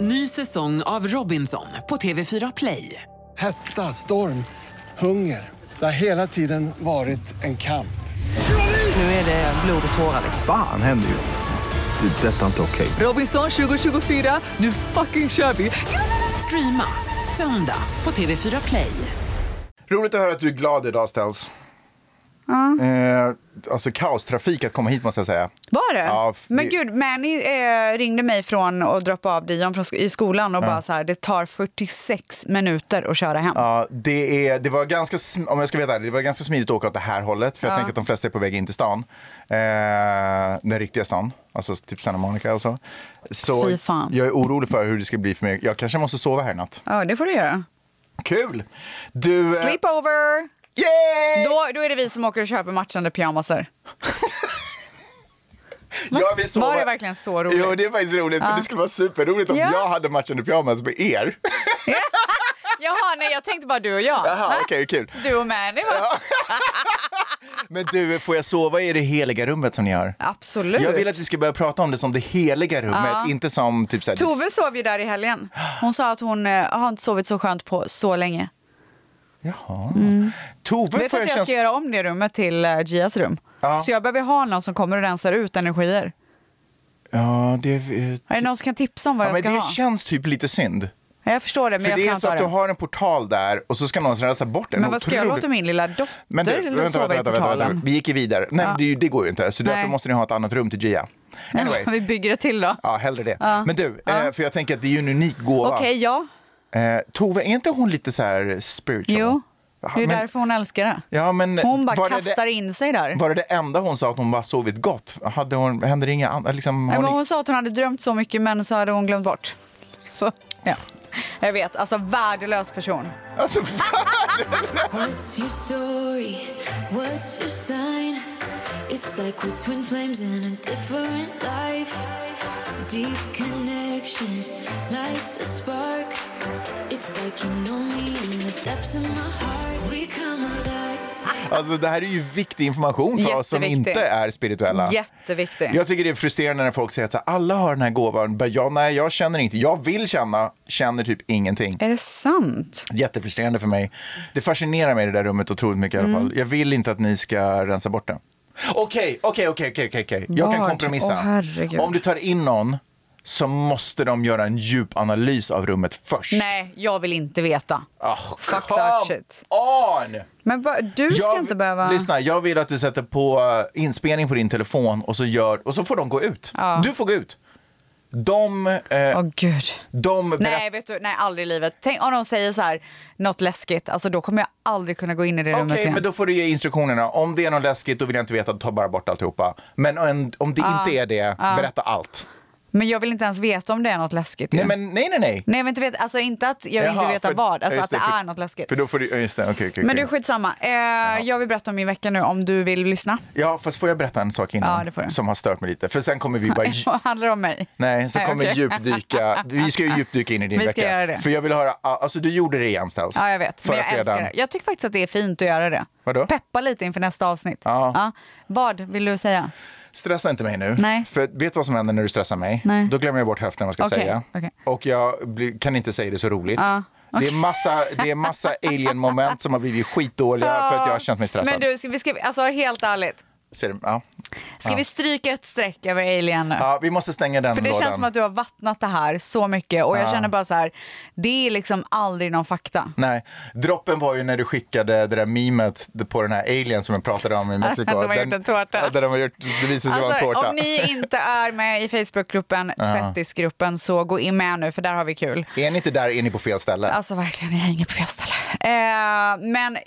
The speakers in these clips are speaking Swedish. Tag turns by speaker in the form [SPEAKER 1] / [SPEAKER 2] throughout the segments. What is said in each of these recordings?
[SPEAKER 1] Ny säsong av Robinson på TV4 Play.
[SPEAKER 2] Hetta, storm, hunger. Det har hela tiden varit en kamp.
[SPEAKER 1] Nu är det blod och tårar. liksom.
[SPEAKER 3] Fan händer just nu. Det. är Detta är inte okej.
[SPEAKER 1] Robinson 2024, nu fucking kör vi! Streama söndag på TV4 Play.
[SPEAKER 4] Roligt att höra att du är glad idag Stels. Eh, alltså kaostrafik att komma hit måste jag säga.
[SPEAKER 5] Var det?
[SPEAKER 4] Ja, f-
[SPEAKER 5] men
[SPEAKER 4] det-
[SPEAKER 5] gud, Manny eh, ringde mig från att droppa av Dion från sk- i skolan och bara så här, det tar 46 minuter att köra hem.
[SPEAKER 4] Ja, det, är, det var ganska, sm- om jag ska veta, det var ganska smidigt att åka åt det här hållet. För jag tänker att de flesta är på väg in till stan. Eh, den riktiga stan. Alltså typ Santa Monica och så. Så
[SPEAKER 5] Fy fan.
[SPEAKER 4] jag är orolig för hur det ska bli för mig. Jag kanske måste sova här i natt.
[SPEAKER 5] Ja, det får du göra.
[SPEAKER 4] Kul! Du... eh,
[SPEAKER 5] Sleepover!
[SPEAKER 4] Yay!
[SPEAKER 5] Då, då är det vi som åker och köper matchande pyjamasar.
[SPEAKER 4] Jag vill sova.
[SPEAKER 5] Var det verkligen så roligt?
[SPEAKER 4] Jo, det är faktiskt roligt. För det skulle vara superroligt om
[SPEAKER 5] Ja.
[SPEAKER 4] jag hade matchande pyjamas med er.
[SPEAKER 5] Jaha, nej, jag tänkte bara du och jag.
[SPEAKER 4] Jaha, okej, kul.
[SPEAKER 5] Du och Manny, va?
[SPEAKER 4] Men du, får jag sova i det heliga rummet som ni har?
[SPEAKER 5] Absolut.
[SPEAKER 4] Jag vill att vi ska börja prata om det som det heliga rummet, inte som typ så här,
[SPEAKER 5] Tove sov ju där i helgen. Hon sa att hon eh, har inte sovit så skönt på så länge.
[SPEAKER 4] Jaha. Tove
[SPEAKER 5] Vet
[SPEAKER 4] får jag
[SPEAKER 5] du att jag ska
[SPEAKER 4] känns...
[SPEAKER 5] göra om det rummet till eh, Gias rum?
[SPEAKER 4] Ja.
[SPEAKER 5] Så jag behöver ha någon som kommer och rensar ut energier.
[SPEAKER 4] Ja, det... eh,
[SPEAKER 5] Är det någon som kan tipsa om vad
[SPEAKER 4] Ja,
[SPEAKER 5] jag
[SPEAKER 4] men
[SPEAKER 5] ska
[SPEAKER 4] det
[SPEAKER 5] ha?
[SPEAKER 4] känns typ lite synd.
[SPEAKER 5] Ja, Jag förstår det, men
[SPEAKER 4] För
[SPEAKER 5] jag
[SPEAKER 4] det är
[SPEAKER 5] kan
[SPEAKER 4] så
[SPEAKER 5] ta
[SPEAKER 4] att du
[SPEAKER 5] det.
[SPEAKER 4] har en portal där och så ska någon rensa bort den.
[SPEAKER 5] Men vad ska jag
[SPEAKER 4] Otroligt.
[SPEAKER 5] låta min lilla dotter
[SPEAKER 4] Men du, vänta,
[SPEAKER 5] sova
[SPEAKER 4] vänta, vänta,
[SPEAKER 5] i
[SPEAKER 4] vänta,
[SPEAKER 5] portalen?
[SPEAKER 4] vänta. Vi gick ju vidare. Nej, men det, det går ju inte. Så därför
[SPEAKER 5] Nej.
[SPEAKER 4] måste ni ha ett annat rum till Gia. Anyway.
[SPEAKER 5] Vi bygger ett till då.
[SPEAKER 4] Ja, hellre det. Men du, eh, för jag tänker att det är ju en unik gåva.
[SPEAKER 5] Okej, ja.
[SPEAKER 4] Eh, Tove, är inte hon lite så här spiritual?
[SPEAKER 5] Jo.
[SPEAKER 4] Ja,
[SPEAKER 5] Det är
[SPEAKER 4] men-
[SPEAKER 5] därför hon älskar det.
[SPEAKER 4] Ja, men
[SPEAKER 5] Hon bara
[SPEAKER 4] var det
[SPEAKER 5] kastar
[SPEAKER 4] det,
[SPEAKER 5] in sig där.
[SPEAKER 4] Var det det enda hon sa att hon bara sovit gott? Hade hon, hände det inga andra? Liksom,
[SPEAKER 5] Nej,
[SPEAKER 4] har
[SPEAKER 5] men
[SPEAKER 4] ni-
[SPEAKER 5] hon sa att hon hade drömt så mycket, men så hade hon glömt bort. Så, ja. Jag vet, alltså värdelös person.
[SPEAKER 4] Alltså, fan!
[SPEAKER 6] What's your story? What's your sign? It's like we're twin flames in a different life. Deep connection lights a spark. It's like you know me in the depths of my heart. We come alive.
[SPEAKER 4] alltså, det här är ju viktig information för oss som
[SPEAKER 5] Jätteviktig.
[SPEAKER 4] inte är spirituella.
[SPEAKER 5] Jätteviktig.
[SPEAKER 4] Jag tycker det är frustrerande när folk säger att så här, alla har den här gåvan. Bara, jag, nej, jag känner inte. Jag vill känna, känner typ ingenting.
[SPEAKER 5] Är det sant?
[SPEAKER 4] Jättefrustrerande för mig. Det fascinerar mig det där rummet otroligt mycket
[SPEAKER 5] Mm.
[SPEAKER 4] i alla fall. Jag vill inte att ni ska rensa bort det. Okej, okej, okej, okej, okej, okej. Jag kan
[SPEAKER 5] Vad?
[SPEAKER 4] kompromissa.
[SPEAKER 5] Åh, herregud.
[SPEAKER 4] Om du tar in någon så måste de göra en djup analys av rummet först.
[SPEAKER 5] Nej, jag vill inte veta.
[SPEAKER 4] Oh,
[SPEAKER 5] Fuck
[SPEAKER 4] come
[SPEAKER 5] that shit.
[SPEAKER 4] on!
[SPEAKER 5] Men va, du ska
[SPEAKER 4] Jag
[SPEAKER 5] inte
[SPEAKER 4] vill-
[SPEAKER 5] behöva...
[SPEAKER 4] Lyssna, jag vill att du sätter på eh, inspelning på din telefon och så, gör, och så får de gå ut. Du får gå ut. De, eh,
[SPEAKER 5] Åh gud.
[SPEAKER 4] de berättar...
[SPEAKER 5] Nej, vet du, nej, aldrig i livet. Tänk om de säger så här, något läskigt, alltså då kommer jag aldrig kunna gå in i det rummet
[SPEAKER 4] Okej,
[SPEAKER 5] igen.
[SPEAKER 4] men då får du ge instruktionerna. Om det är något läskigt, då vill jag inte veta. Ta bara bort alltihopa. Men om- om det
[SPEAKER 5] Ah.
[SPEAKER 4] inte är det, berätta allt.
[SPEAKER 5] Men jag vill inte ens veta om det är något läskigt.
[SPEAKER 4] Nej,
[SPEAKER 5] ju.
[SPEAKER 4] men nej, nej, nej.
[SPEAKER 5] nej jag vill inte veta, alltså inte att jag vill
[SPEAKER 4] Jaha,
[SPEAKER 5] inte veta
[SPEAKER 4] för-
[SPEAKER 5] vad,
[SPEAKER 4] ja,
[SPEAKER 5] alltså
[SPEAKER 4] just
[SPEAKER 5] att det,
[SPEAKER 4] för-
[SPEAKER 5] är något läskigt.
[SPEAKER 4] För då får du, ja, just det, okej, okej.
[SPEAKER 5] men du
[SPEAKER 4] okej.
[SPEAKER 5] skitsamma, eh, jag vill berätta om min vecka nu om du vill lyssna.
[SPEAKER 4] Ja, fast får jag berätta en sak
[SPEAKER 5] Ja,
[SPEAKER 4] innan?
[SPEAKER 5] det får du.
[SPEAKER 4] som har stört mig lite. För sen kommer vi bara...
[SPEAKER 5] Vad handlar det om mig?
[SPEAKER 4] Nej, så kommer
[SPEAKER 5] okej.
[SPEAKER 4] djupdyka. Vi ska ju djupdyka in i din
[SPEAKER 5] Vi ska
[SPEAKER 4] vecka.
[SPEAKER 5] göra det.
[SPEAKER 4] För jag vill höra, alltså du gjorde det igen Stels.
[SPEAKER 5] Ja, jag vet. Men
[SPEAKER 4] Förra
[SPEAKER 5] jag
[SPEAKER 4] fredagen.
[SPEAKER 5] älskar det. Jag tycker faktiskt att det är fint att göra det.
[SPEAKER 4] Vadå?
[SPEAKER 5] Peppa lite inför nästa avsnitt.
[SPEAKER 4] Ja.
[SPEAKER 5] Vad vill du säga?
[SPEAKER 4] Stressa inte mig nu.
[SPEAKER 5] Nej.
[SPEAKER 4] För vet du vad som händer när du stressar mig?
[SPEAKER 5] Nej.
[SPEAKER 4] Då glömmer jag bort hälften av vad jag ska
[SPEAKER 5] Okej,
[SPEAKER 4] säga.
[SPEAKER 5] okej.
[SPEAKER 4] Och jag blir, kan inte säga det så roligt.
[SPEAKER 5] Ja,
[SPEAKER 4] Det är massa, det är massa alien-moment som har blivit skitdåliga för att jag har känt mig stressad.
[SPEAKER 5] Men du, ska vi ska, alltså helt ärligt.
[SPEAKER 4] Ser du? Ja.
[SPEAKER 5] Ska vi stryka ett streck över Alien nu?
[SPEAKER 4] ja, vi måste stänga den
[SPEAKER 5] För det
[SPEAKER 4] lådan.
[SPEAKER 5] känns som att du har vattnat det här så mycket och jag känner bara så här, det är liksom aldrig någon fakta.
[SPEAKER 4] Nej, droppen var ju när du skickade det där memet på den här alien som jag pratade om i Mexiko.
[SPEAKER 5] De har gjort en tårta.
[SPEAKER 4] Ja, Där de har gjort, det visade sig vara en
[SPEAKER 5] Alltså,
[SPEAKER 4] tårta.
[SPEAKER 5] om ni inte är med i Facebookgruppen, 30-gruppen, så gå in med nu för där har vi kul.
[SPEAKER 4] Är ni inte där är ni på fel ställe.
[SPEAKER 5] Alltså verkligen, jag hänger på fel ställe. Eh, men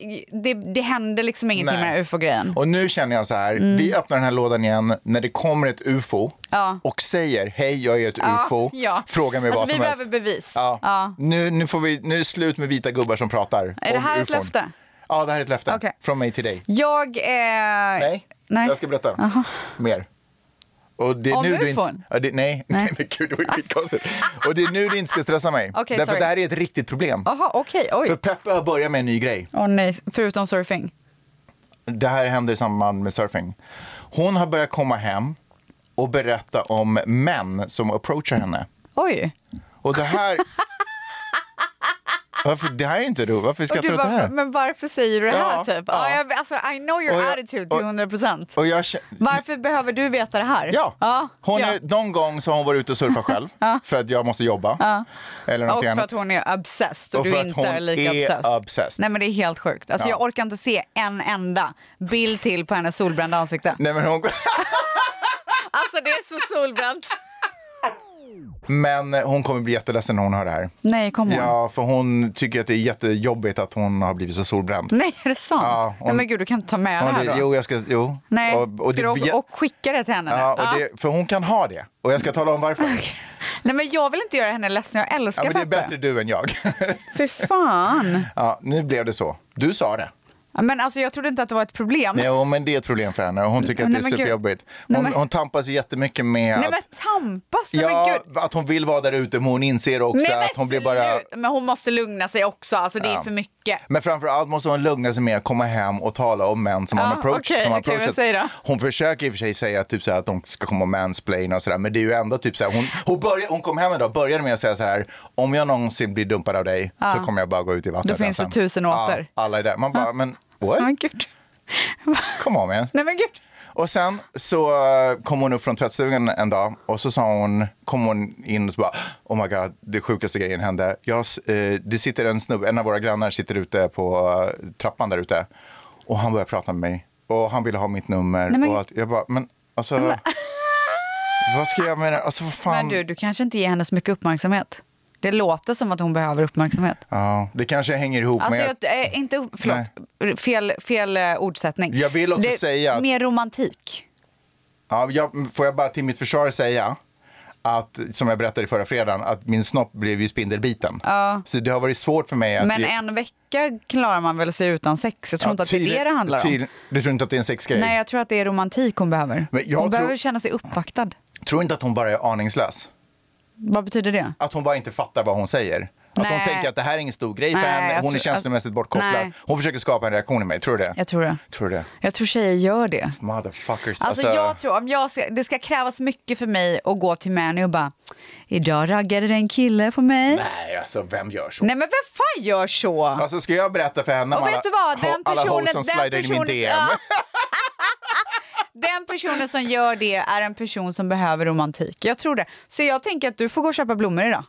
[SPEAKER 5] det, det händer liksom ingenting
[SPEAKER 4] Nej.
[SPEAKER 5] med den här ufo-grejen.
[SPEAKER 4] Och nu känner jag så här,
[SPEAKER 5] Mm.
[SPEAKER 4] vi öppnar den här lådan igen när det kommer ett ufo
[SPEAKER 5] Ja.
[SPEAKER 4] och säger hej jag är ett ufo,
[SPEAKER 5] ja.
[SPEAKER 4] fråga mig
[SPEAKER 5] Alltså,
[SPEAKER 4] vad
[SPEAKER 5] vi
[SPEAKER 4] som helst.
[SPEAKER 5] behöver bevis.
[SPEAKER 4] Ja.
[SPEAKER 5] Ja.
[SPEAKER 4] Nu, nu, får vi, nu är det slut med vita gubbar som pratar. Är
[SPEAKER 5] det här ett löfte?
[SPEAKER 4] Ja, det här är ett löfte.
[SPEAKER 5] Okej.
[SPEAKER 4] Från mig till dig.
[SPEAKER 5] Jag... Eh,
[SPEAKER 4] Nej,
[SPEAKER 5] nej.
[SPEAKER 4] jag ska berätta mer. Och det är
[SPEAKER 5] Om
[SPEAKER 4] nu du
[SPEAKER 5] ufon?
[SPEAKER 4] inte, ja, det, nej. nej, men gud det var ju skitkonstigt. Och det är nu du inte ska stressa mig.
[SPEAKER 5] Okej,
[SPEAKER 4] Därför
[SPEAKER 5] sorry.
[SPEAKER 4] att det här är ett riktigt problem.
[SPEAKER 5] Jaha, okej.
[SPEAKER 4] För
[SPEAKER 5] oj.
[SPEAKER 4] Peppe har börjat med en ny grej.
[SPEAKER 5] Åh nej, förutom surfing.
[SPEAKER 4] det här händer i samband med surfing. Hon har börjat komma hem och berätta om män som approachar henne.
[SPEAKER 5] Oj.
[SPEAKER 4] Och det här... Varför, det här är inte roligt. Varför
[SPEAKER 5] Och
[SPEAKER 4] skrattar
[SPEAKER 5] du
[SPEAKER 4] du åt det
[SPEAKER 5] bara,
[SPEAKER 4] här?
[SPEAKER 5] men varför säger du det här
[SPEAKER 4] Ja,
[SPEAKER 5] typ?
[SPEAKER 4] ja.
[SPEAKER 5] Ja. jag, alltså, I know your
[SPEAKER 4] Och jag-
[SPEAKER 5] attitude
[SPEAKER 4] och-
[SPEAKER 5] till 100 procent.
[SPEAKER 4] Och jag kä-
[SPEAKER 5] Varför behöver du veta det här?
[SPEAKER 4] Ja. Hon
[SPEAKER 5] ja.
[SPEAKER 4] är, någon gång så har hon varit ute och surfat själv för att jag måste jobba. Eller
[SPEAKER 5] Och
[SPEAKER 4] någonting
[SPEAKER 5] för
[SPEAKER 4] annat.
[SPEAKER 5] att hon är obsessed och,
[SPEAKER 4] Och
[SPEAKER 5] du
[SPEAKER 4] för att
[SPEAKER 5] inte
[SPEAKER 4] hon
[SPEAKER 5] är lika
[SPEAKER 4] är
[SPEAKER 5] obsessed.
[SPEAKER 4] obsessed.
[SPEAKER 5] Nej men det är helt sjukt. Alltså
[SPEAKER 4] Ja.
[SPEAKER 5] jag orkar inte se en enda bild till på hennes solbrända ansikte.
[SPEAKER 4] Nej, men, hon,
[SPEAKER 5] Alltså det är så solbränt.
[SPEAKER 4] men eh, hon kommer bli jätteledsen när hon hör det här.
[SPEAKER 5] Nej, kom hon?
[SPEAKER 4] Ja, för hon tycker att det är jättejobbigt att hon har blivit så solbränd.
[SPEAKER 5] Nej, är det sant?
[SPEAKER 4] Ja, hon-
[SPEAKER 5] Nej men gud, du kan inte ta med
[SPEAKER 4] Ja,
[SPEAKER 5] det här
[SPEAKER 4] det,
[SPEAKER 5] då.
[SPEAKER 4] jo, jag ska... Jo.
[SPEAKER 5] Nej,
[SPEAKER 4] Och, och, det,
[SPEAKER 5] ska du
[SPEAKER 4] blir-
[SPEAKER 5] och, och skicka det till henne nu?
[SPEAKER 4] ja, och det, för hon kan ha det. Och jag ska tala om varför.
[SPEAKER 5] Nej men jag vill inte göra henne ledsen, jag
[SPEAKER 4] Ja,
[SPEAKER 5] älskar
[SPEAKER 4] men det är
[SPEAKER 5] Peppe.
[SPEAKER 4] bättre du än jag.
[SPEAKER 5] Fy fan.
[SPEAKER 4] ja, nu blev det så. Du sa det.
[SPEAKER 5] Ja, Men alltså jag trodde inte att det var ett problem.
[SPEAKER 4] Jo, men det är ett problem för henne. Hon tycker att
[SPEAKER 5] Nej,
[SPEAKER 4] det är
[SPEAKER 5] men gud.
[SPEAKER 4] superjobbigt.
[SPEAKER 5] Nej,
[SPEAKER 4] Hon,
[SPEAKER 5] men-
[SPEAKER 4] hon tampas ju jättemycket med
[SPEAKER 5] Nej
[SPEAKER 4] att...
[SPEAKER 5] men tampas, nej men
[SPEAKER 4] Ja,
[SPEAKER 5] gud.
[SPEAKER 4] att hon vill vara där ute, men hon inser också
[SPEAKER 5] Nej, men
[SPEAKER 4] att hon blir bara...
[SPEAKER 5] slut. Men hon måste lugna sig också, alltså det är för mycket.
[SPEAKER 4] Men framför allt måste hon lugna sig med att komma hem och tala om män som
[SPEAKER 5] Ja,
[SPEAKER 4] hon approach,
[SPEAKER 5] Ah, okej,
[SPEAKER 4] som har
[SPEAKER 5] okej, men
[SPEAKER 4] approachat.
[SPEAKER 5] säg då.
[SPEAKER 4] Hon försöker i och för sig säga typ så här, att de ska komma och mansplaina och sådär, men det är ju ändå typ så här, hon, hon, började, hon kom hem en dag och började med att säga så här, om jag någonsin blir dumpad av dig så kommer jag bara gå ut i vattnet.
[SPEAKER 5] Ah. Då finns det
[SPEAKER 4] ensam."
[SPEAKER 5] tusen åter. Ah.
[SPEAKER 4] Ja, alla är där. Man bara, men what?
[SPEAKER 5] Men gud.
[SPEAKER 4] Come on man.
[SPEAKER 5] Nej men gud.
[SPEAKER 4] Och sen så eh, kom hon upp från tvättstugan en dag och så sa hon, kom hon in och så bara, oh my god, det sjukaste grejen hände. Jag, s- eh, det sitter en snubbe, en av våra grannar sitter ute på eh, trappan där ute och han börjar prata med mig och han ville ha mitt nummer.
[SPEAKER 5] Nej, men-
[SPEAKER 4] och att, jag bara, men alltså, vad ska jag med det? Alltså vad fan.
[SPEAKER 5] Men du, du kanske inte ger henne så mycket uppmärksamhet. Det låter som att hon behöver uppmärksamhet.
[SPEAKER 4] Ja, det kanske hänger ihop
[SPEAKER 5] Alltså,
[SPEAKER 4] med...
[SPEAKER 5] jag, eh, inte, upp- förlåt, fel, fel eh, ordsättning.
[SPEAKER 4] Jag vill också
[SPEAKER 5] Det-
[SPEAKER 4] säga att-
[SPEAKER 5] Mer romantik.
[SPEAKER 4] Ja, jag, får jag bara till mitt försvar säga att, som jag berättade förra fredagen, att min snopp blev ju spindelbiten. Så det har varit svårt för mig att...
[SPEAKER 5] Men en vecka klarar man väl sig utan sex? Jag tror inte att det är det det handlar om.
[SPEAKER 4] Du tror inte att det är en sexgrej?
[SPEAKER 5] Nej, jag tror att det är romantik hon behöver.
[SPEAKER 4] Men jag
[SPEAKER 5] hon
[SPEAKER 4] tror-
[SPEAKER 5] behöver känna sig uppvaktad.
[SPEAKER 4] Tror inte att hon bara är aningslös?
[SPEAKER 5] Vad betyder det?
[SPEAKER 4] Att hon bara inte fattar vad hon säger? Att hon
[SPEAKER 5] Nej.
[SPEAKER 4] tänker att det här är ingen stor grej för
[SPEAKER 5] Nej,
[SPEAKER 4] henne, hon är
[SPEAKER 5] jag tror- alltså,
[SPEAKER 4] känslomässigt bortkopplad.
[SPEAKER 5] Nej.
[SPEAKER 4] Hon försöker skapa en reaktion i mig, tror du det?
[SPEAKER 5] Jag tror det.
[SPEAKER 4] Tror du det?
[SPEAKER 5] Jag tror tjejer gör det.
[SPEAKER 4] Motherfuckers.
[SPEAKER 5] Alltså, jag tror, om jag ska, det ska krävas mycket för mig att gå till Mani och bara, idag raggade det en kille på mig. Nej,
[SPEAKER 4] Nej, alltså vem gör så?
[SPEAKER 5] men vem fan gör så?
[SPEAKER 4] Alltså ska jag berätta för henne om
[SPEAKER 5] och
[SPEAKER 4] alla,
[SPEAKER 5] vet du vad,
[SPEAKER 4] ho-
[SPEAKER 5] den
[SPEAKER 4] alla hoes
[SPEAKER 5] personen,
[SPEAKER 4] som
[SPEAKER 5] den
[SPEAKER 4] slidar in i min
[SPEAKER 5] personen,
[SPEAKER 4] DM?
[SPEAKER 5] ja. den personen som gör det är en person som behöver romantik. Jag tror det. Så jag tänker att du får gå och köpa blommor idag.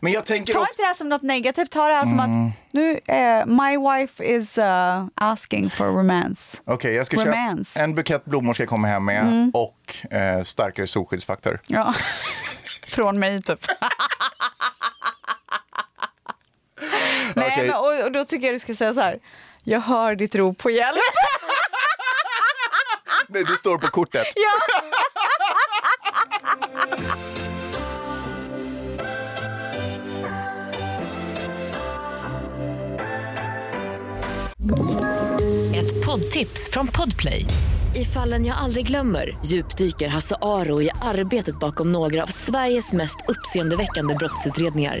[SPEAKER 4] Men jag tänker
[SPEAKER 5] Ta
[SPEAKER 4] också...
[SPEAKER 5] inte det här som något negativt, ta det här som
[SPEAKER 4] Mm.
[SPEAKER 5] att nu, eh, my wife is eh, asking for romance.
[SPEAKER 4] Okej, jag ska köpa
[SPEAKER 5] Romance.
[SPEAKER 4] en bukett blommor ska jag komma hem med
[SPEAKER 5] Mm.
[SPEAKER 4] och eh, starkare solskyddsfaktor.
[SPEAKER 5] Ja. Från mig typ. Nej,
[SPEAKER 4] Okej.
[SPEAKER 5] men, och, och då tycker jag du ska säga så här. Jag hör ditt rop på hjälp.
[SPEAKER 4] Nej, det står på kortet.
[SPEAKER 5] Ja.
[SPEAKER 7] Ett poddtips från Podplay. I fallen jag aldrig glömmer djupdyker Hasse Aro i arbetet bakom några av Sveriges mest uppseendeväckande brottsutredningar.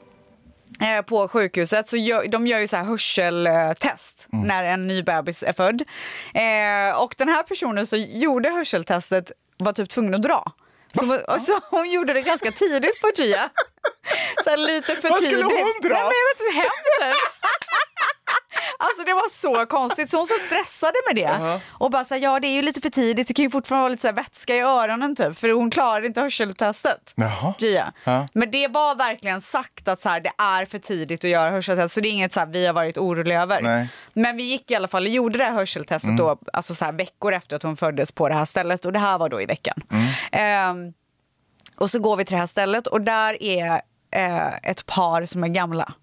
[SPEAKER 5] eh, på sjukhuset så gör, de gör ju så här hörseltest
[SPEAKER 4] Mm.
[SPEAKER 5] när en ny bebis är född. Eh, och den här personen som gjorde hörseltestet var typ tvungen att dra. Så, hon- och så hon gjorde det ganska tidigt på Gia. Så här lite för
[SPEAKER 4] Vad
[SPEAKER 5] tidigt.
[SPEAKER 4] skulle hon dra?
[SPEAKER 5] Nej, men jag vet inte, hem typ. Alltså det var så konstigt, så hon så stressade med det. Och bara så här, ja det är ju lite för tidigt, det kan ju fortfarande vara lite så här vätska i öronen typ, för hon klarade inte hörseltestet.
[SPEAKER 4] Jaha.
[SPEAKER 5] Gia.
[SPEAKER 4] Ja.
[SPEAKER 5] Men det var verkligen sagt att så här, det är för tidigt att göra hörseltest, så det är inget så här, vi har varit oroliga över.
[SPEAKER 4] Nej. Mm.
[SPEAKER 5] Men vi gick i alla fall och gjorde det här hörseltestet då, alltså så här, veckor efter att hon föddes på det här stället och det här var då i veckan.
[SPEAKER 4] Mm.
[SPEAKER 5] Ehm, och så går vi till det här stället och där är eh, ett par som är gamla.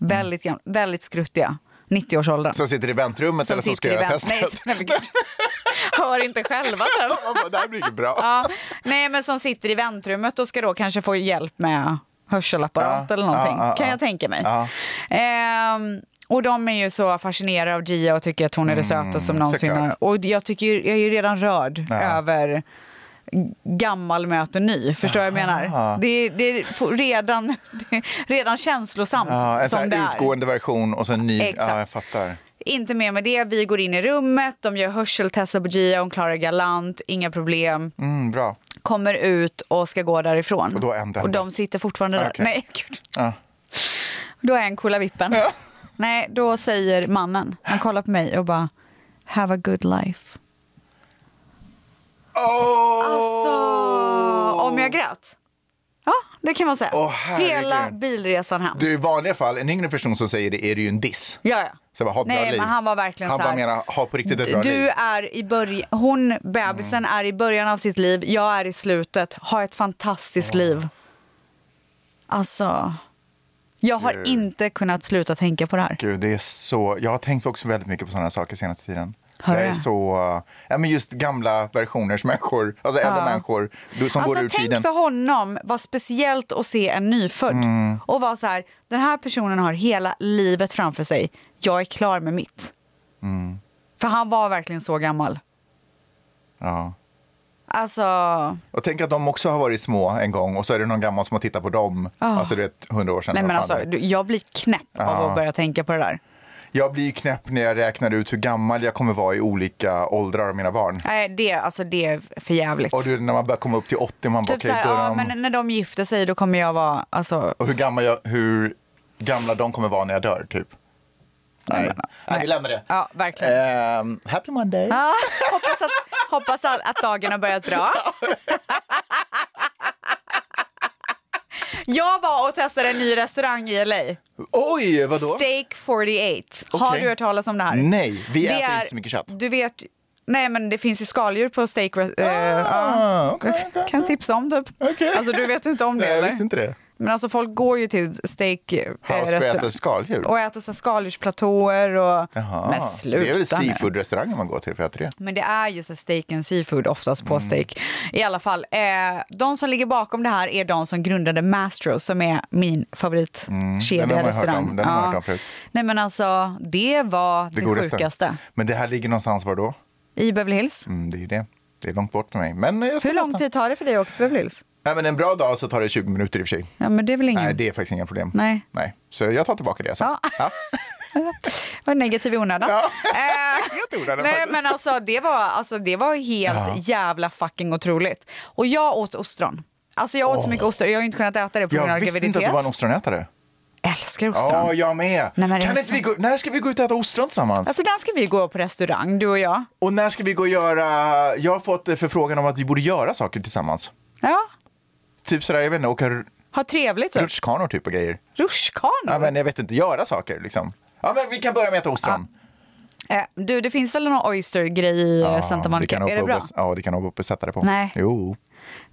[SPEAKER 5] Väldigt gamla, väldigt skruttiga. 90-årsåldern.
[SPEAKER 4] Som sitter i väntrummet eller som ska göra
[SPEAKER 5] vänt- Nej,
[SPEAKER 4] testet.
[SPEAKER 5] så- nej, men gud. Hör inte själva typ.
[SPEAKER 4] Man bara, det här blir inte bra.
[SPEAKER 5] Ja. Nej, men som sitter i väntrummet och ska då kanske få hjälp med hörselapparat
[SPEAKER 4] Ja,
[SPEAKER 5] eller någonting.
[SPEAKER 4] ja, ja,
[SPEAKER 5] kan
[SPEAKER 4] ja.
[SPEAKER 5] jag tänka mig.
[SPEAKER 4] Ja.
[SPEAKER 5] Ehm, Och de är ju så fascinerade av Gia och tycker att hon är det söta som någonsin.
[SPEAKER 4] Mm, såklart.
[SPEAKER 5] har- Och jag, tycker, ju- jag är ju redan rörd över gammal möter ny. Förstår du vad jag menar? Det är, det är fo- redan, det är redan känslosamt
[SPEAKER 4] Ja, en sån
[SPEAKER 5] som det
[SPEAKER 4] här
[SPEAKER 5] är.
[SPEAKER 4] utgående version och sen ny.
[SPEAKER 5] Exakt.
[SPEAKER 4] Ja, jag fattar.
[SPEAKER 5] Inte mer med det. Vi går in i rummet, de gör hörseltester på Gia, hon klarar galant, inga problem.
[SPEAKER 4] Mm, bra.
[SPEAKER 5] Kommer ut och ska gå därifrån.
[SPEAKER 4] Och då är en där.
[SPEAKER 5] Och de sitter fortfarande där.
[SPEAKER 4] Okej.
[SPEAKER 5] Nej, gud.
[SPEAKER 4] Ja.
[SPEAKER 5] Då är en kolla vippen. Nej, då säger mannen, han kollar på mig och bara Have a good life.
[SPEAKER 4] Åh,
[SPEAKER 5] Alltså, om jag grät? Ja, det kan man säga.
[SPEAKER 4] Åh, herregud.
[SPEAKER 5] Hela bilresan hem.
[SPEAKER 4] Du, I vanliga fall, en yngre person som säger det är det ju en diss.
[SPEAKER 5] Ja, ja.
[SPEAKER 4] Så jag bara, ha ett bra
[SPEAKER 5] Nej,
[SPEAKER 4] liv.
[SPEAKER 5] men han var verkligen
[SPEAKER 4] Han
[SPEAKER 5] så
[SPEAKER 4] bara
[SPEAKER 5] här,
[SPEAKER 4] menar, ha på riktigt ett bra
[SPEAKER 5] Du
[SPEAKER 4] liv. Mm.
[SPEAKER 5] är i början, hon, bebisen, är i början av sitt liv. Jag är i slutet. Ha ett fantastiskt liv. Alltså, jag har
[SPEAKER 4] Gud.
[SPEAKER 5] inte kunnat sluta tänka på det här.
[SPEAKER 4] Gud, det är så... Jag har tänkt också väldigt mycket på sådana saker senaste tiden.
[SPEAKER 5] Har
[SPEAKER 4] det
[SPEAKER 5] du
[SPEAKER 4] är
[SPEAKER 5] det?
[SPEAKER 4] så... Ja, men just gamla versioners människor, alltså äldre människor du- som
[SPEAKER 5] Alltså
[SPEAKER 4] går ur
[SPEAKER 5] tänk
[SPEAKER 4] tiden.
[SPEAKER 5] för honom vad speciellt att se en nyfödd
[SPEAKER 4] Mm.
[SPEAKER 5] och vara så här, den här personen har hela livet framför sig. Jag är klar med mitt.
[SPEAKER 4] Mm.
[SPEAKER 5] För han var verkligen så gammal.
[SPEAKER 4] Ja.
[SPEAKER 5] Alltså,
[SPEAKER 4] Och tänk att de också har varit små en gång och så är det någon gammal som har tittat på dem, alltså du vet, hundra år sedan.
[SPEAKER 5] nej
[SPEAKER 4] vad
[SPEAKER 5] men
[SPEAKER 4] fan
[SPEAKER 5] alltså,
[SPEAKER 4] det är.
[SPEAKER 5] du- jag blir knäpp av att börja tänka på det där.
[SPEAKER 4] Jag blir ju knäpp när jag räknar ut hur gammal jag kommer vara i olika åldrar av mina barn.
[SPEAKER 5] Nej, det, alltså, det är för jävligt.
[SPEAKER 4] Och du, när man börjar komma upp till 80, man bara,
[SPEAKER 5] typ
[SPEAKER 4] okej,
[SPEAKER 5] så här,
[SPEAKER 4] då är
[SPEAKER 5] ja,
[SPEAKER 4] de...
[SPEAKER 5] men när de gifter sig då kommer jag vara, alltså,
[SPEAKER 4] Och hur, gammal jag, hur gamla de kommer vara när jag dör, typ. Nej, Nej vi lämnar det.
[SPEAKER 5] ja verkligen.
[SPEAKER 4] Ehm, happy Monday.
[SPEAKER 5] Ja, hoppas att, hoppas all- att dagen har börjat bra. Jag var och testade en ny restaurang i LA.
[SPEAKER 4] Oj, vadå?
[SPEAKER 5] Steak 48. Har
[SPEAKER 4] Okej.
[SPEAKER 5] du hört talas om det här?
[SPEAKER 4] Nej, vi
[SPEAKER 5] Det
[SPEAKER 4] äter
[SPEAKER 5] är-
[SPEAKER 4] inte så mycket kött.
[SPEAKER 5] Du vet, nej men det finns ju skaldjur på steak... res- eh,
[SPEAKER 4] Ah,
[SPEAKER 5] ja.
[SPEAKER 4] okej, okej,
[SPEAKER 5] kan tipsa om typ.
[SPEAKER 4] Okej.
[SPEAKER 5] Alltså du vet inte om det
[SPEAKER 4] Nej, jag
[SPEAKER 5] eller?
[SPEAKER 4] visste inte det.
[SPEAKER 5] Men alltså folk går ju till steak... eh,
[SPEAKER 4] House för att
[SPEAKER 5] restaurang
[SPEAKER 4] äta skaldjur?
[SPEAKER 5] och äter så här skaldjursplatåer och...
[SPEAKER 4] Jaha.
[SPEAKER 5] Men sluta
[SPEAKER 4] det är väl
[SPEAKER 5] nu.
[SPEAKER 4] seafood-restauranger man går till för att äta det?
[SPEAKER 5] Men det är ju så här steak and seafood oftast
[SPEAKER 4] Mm.
[SPEAKER 5] på steak. I alla fall, eh, de som ligger bakom det här är de som grundade Mastro som är min favoritkedja
[SPEAKER 4] Mm. den har man hört
[SPEAKER 5] restaurang.
[SPEAKER 4] om, den har man hört om förut.
[SPEAKER 5] Nej men alltså, det var det,
[SPEAKER 4] godaste.
[SPEAKER 5] sjukaste.
[SPEAKER 4] Men det här ligger någonstans var då?
[SPEAKER 5] I Beverly Hills.
[SPEAKER 4] Mm, det är det. Det är långt bort för mig. Men eh, jag ska
[SPEAKER 5] Hur lång
[SPEAKER 4] testa.
[SPEAKER 5] tid tar det för dig att åka till Beverly Hills?
[SPEAKER 4] Nej, men en bra dag så tar det 20 minuter i och för sig.
[SPEAKER 5] Ja men det är väl ingen...
[SPEAKER 4] Nej, det är faktiskt inga problem.
[SPEAKER 5] Mm. Nej.
[SPEAKER 4] Så jag tar tillbaka det jag sa.
[SPEAKER 5] Ja. Vad negativ i onödan.
[SPEAKER 4] Ja.
[SPEAKER 5] Eh,
[SPEAKER 4] Helt i onödan
[SPEAKER 5] Nej
[SPEAKER 4] faktiskt.
[SPEAKER 5] men alltså det var, alltså, det var helt jävla fucking otroligt. Och jag åt ostron. Alltså jag åt så mycket ostron, jag har ju inte kunnat äta det på grund av
[SPEAKER 4] Jag visste inte
[SPEAKER 5] graviditet.
[SPEAKER 4] att du var en ostronätare.
[SPEAKER 5] Älskar ostron.
[SPEAKER 4] Ja, jag med.
[SPEAKER 5] Nej, men det
[SPEAKER 4] kan
[SPEAKER 5] är
[SPEAKER 4] inte vi gå, när ska vi gå ut och äta ostron tillsammans?
[SPEAKER 5] Alltså där ska vi gå på restaurang, du och jag.
[SPEAKER 4] Och när ska vi gå och göra... Jag har fått eh, förfrågan om att vi borde göra saker tillsammans.
[SPEAKER 5] Ja,
[SPEAKER 4] Typ sådär, jag vet inte, åka r-
[SPEAKER 5] ha trevligt. Typ. Mm.
[SPEAKER 4] rutschkanor typ och grejer.
[SPEAKER 5] Rutschkanor?
[SPEAKER 4] Ja, men jag vet inte, göra saker liksom. Ja, men vi kan börja med att äta ostron.
[SPEAKER 5] eh, du, det finns väl någon oyster-grej i eh, Santa
[SPEAKER 4] det
[SPEAKER 5] Monica?
[SPEAKER 4] kan
[SPEAKER 5] Är det bra?
[SPEAKER 4] Ja, det kan Åbo sätta det på.
[SPEAKER 5] Nej.
[SPEAKER 4] Jo,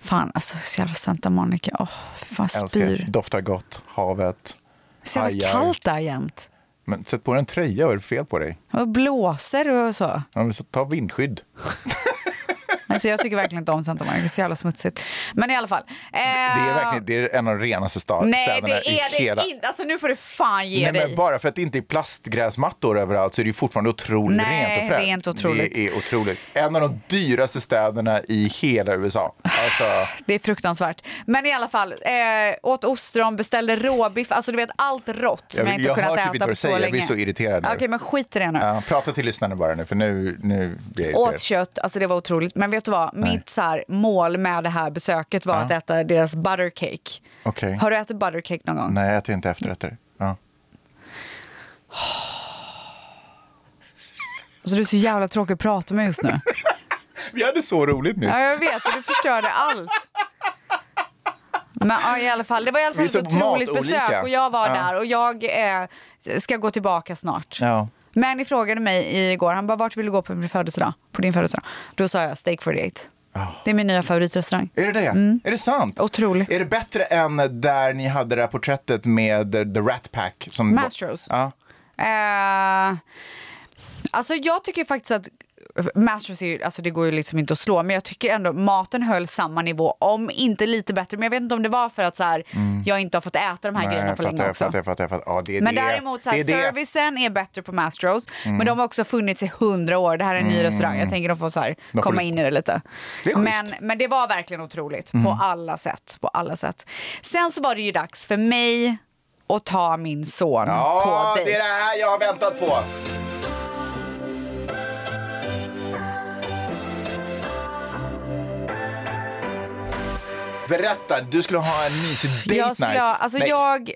[SPEAKER 5] Fan, alltså så jävla Santa Monica. Åh, fy fan
[SPEAKER 4] älskar.
[SPEAKER 5] spyr.
[SPEAKER 4] Doftar gott, havet.
[SPEAKER 5] Så jävla
[SPEAKER 4] Hajar.
[SPEAKER 5] kallt där jämt.
[SPEAKER 4] Men sätt på dig en tröja, vad är det fel på dig?
[SPEAKER 5] Och blåser och så.
[SPEAKER 4] Ja, men så ta vindskydd.
[SPEAKER 5] Alltså jag tycker verkligen inte om Santa Monica, så jävla smutsigt. Men i alla fall. eh,
[SPEAKER 4] Det är verkligen det är en av de renaste sta-
[SPEAKER 5] Ah. Nej,
[SPEAKER 4] städerna
[SPEAKER 5] det är
[SPEAKER 4] i
[SPEAKER 5] det
[SPEAKER 4] hela...
[SPEAKER 5] inte. Alltså nu får du fan ge
[SPEAKER 4] Nej,
[SPEAKER 5] dig.
[SPEAKER 4] men bara för att det inte är plastgräsmattor överallt så är det ju fortfarande otroligt
[SPEAKER 5] Nej,
[SPEAKER 4] rent och fräscht.
[SPEAKER 5] rent och otroligt.
[SPEAKER 4] Det är otroligt. En av de dyraste städerna i hela USA. Alltså,
[SPEAKER 5] Det är fruktansvärt. Men i alla fall, eh, åt ostron, beställde råbiff, alltså du vet allt rått som jag,
[SPEAKER 4] jag,
[SPEAKER 5] inte
[SPEAKER 4] jag hör
[SPEAKER 5] kunnat
[SPEAKER 4] typ inte
[SPEAKER 5] äta
[SPEAKER 4] vad
[SPEAKER 5] på
[SPEAKER 4] du
[SPEAKER 5] så
[SPEAKER 4] säger,
[SPEAKER 5] länge.
[SPEAKER 4] jag blir så irriterad nu.
[SPEAKER 5] Okej, men skit i det nu.
[SPEAKER 4] Ja, prata till lyssnarna bara nu, för nu, nu blir jag
[SPEAKER 5] Åt
[SPEAKER 4] irriterad.
[SPEAKER 5] kött, alltså det var otroligt. Men vet du vad, mitt så här, mål med det här besöket var att äta deras buttercake.
[SPEAKER 4] Okej.
[SPEAKER 5] Har du ätit buttercake någon gång?
[SPEAKER 4] Nej, jag äter inte efterrätter. Ja.
[SPEAKER 5] Alltså, du är så jävla tråkig att prata med just nu.
[SPEAKER 4] Vi hade så roligt nyss.
[SPEAKER 5] ja, jag vet, och du förstörde allt. Men ja, i alla fall, det var i alla fall
[SPEAKER 4] Vi
[SPEAKER 5] ett
[SPEAKER 4] är så
[SPEAKER 5] otroligt
[SPEAKER 4] matolika.
[SPEAKER 5] besök och jag var
[SPEAKER 4] Ja.
[SPEAKER 5] där och jag eh, ska gå tillbaka snart.
[SPEAKER 4] Ja.
[SPEAKER 5] Manny frågade mig igår, han bara vart vill du gå på din födelsedag? På din födelsedag? Då sa jag Steak 48. Det är min nya favoritrestaurang.
[SPEAKER 4] Är det det? Är det sant?
[SPEAKER 5] Mm. Otroligt.
[SPEAKER 4] Är det bättre än där ni hade det här porträttet med The Rat Pack? Som
[SPEAKER 5] Mastros.
[SPEAKER 4] Ja.
[SPEAKER 5] Eh, alltså jag tycker faktiskt att Masters är ju, alltså det går ju liksom inte att slå, men jag tycker ändå maten höll samma nivå, om inte lite bättre. Men jag vet inte om det var för att så här, jag inte har fått äta de här
[SPEAKER 4] Mm. Nej,
[SPEAKER 5] grejerna
[SPEAKER 4] jag
[SPEAKER 5] på
[SPEAKER 4] fattar,
[SPEAKER 5] länge
[SPEAKER 4] jag
[SPEAKER 5] också.
[SPEAKER 4] fattar, jag fattar, jag fattar. Ja, det är
[SPEAKER 5] Men
[SPEAKER 4] det.
[SPEAKER 5] däremot så här,
[SPEAKER 4] det är det. Mm.
[SPEAKER 5] servicen är bättre på Mastros, men de har också funnits i hundra år. Det här är en ny restaurang, jag tänker de får så här,
[SPEAKER 4] får
[SPEAKER 5] komma
[SPEAKER 4] li-
[SPEAKER 5] in i det lite.
[SPEAKER 4] Det är schysst. Mm.
[SPEAKER 5] men, men det var verkligen otroligt på alla sätt, på alla sätt. Sen så var det ju dags för mig att ta min son
[SPEAKER 4] Ja,
[SPEAKER 5] på
[SPEAKER 4] det
[SPEAKER 5] dejt.
[SPEAKER 4] är det här jag har väntat på. Berätta, du skulle ha en mysig date
[SPEAKER 5] jag skulle,
[SPEAKER 4] night.
[SPEAKER 5] alltså
[SPEAKER 4] Nej,
[SPEAKER 5] jag,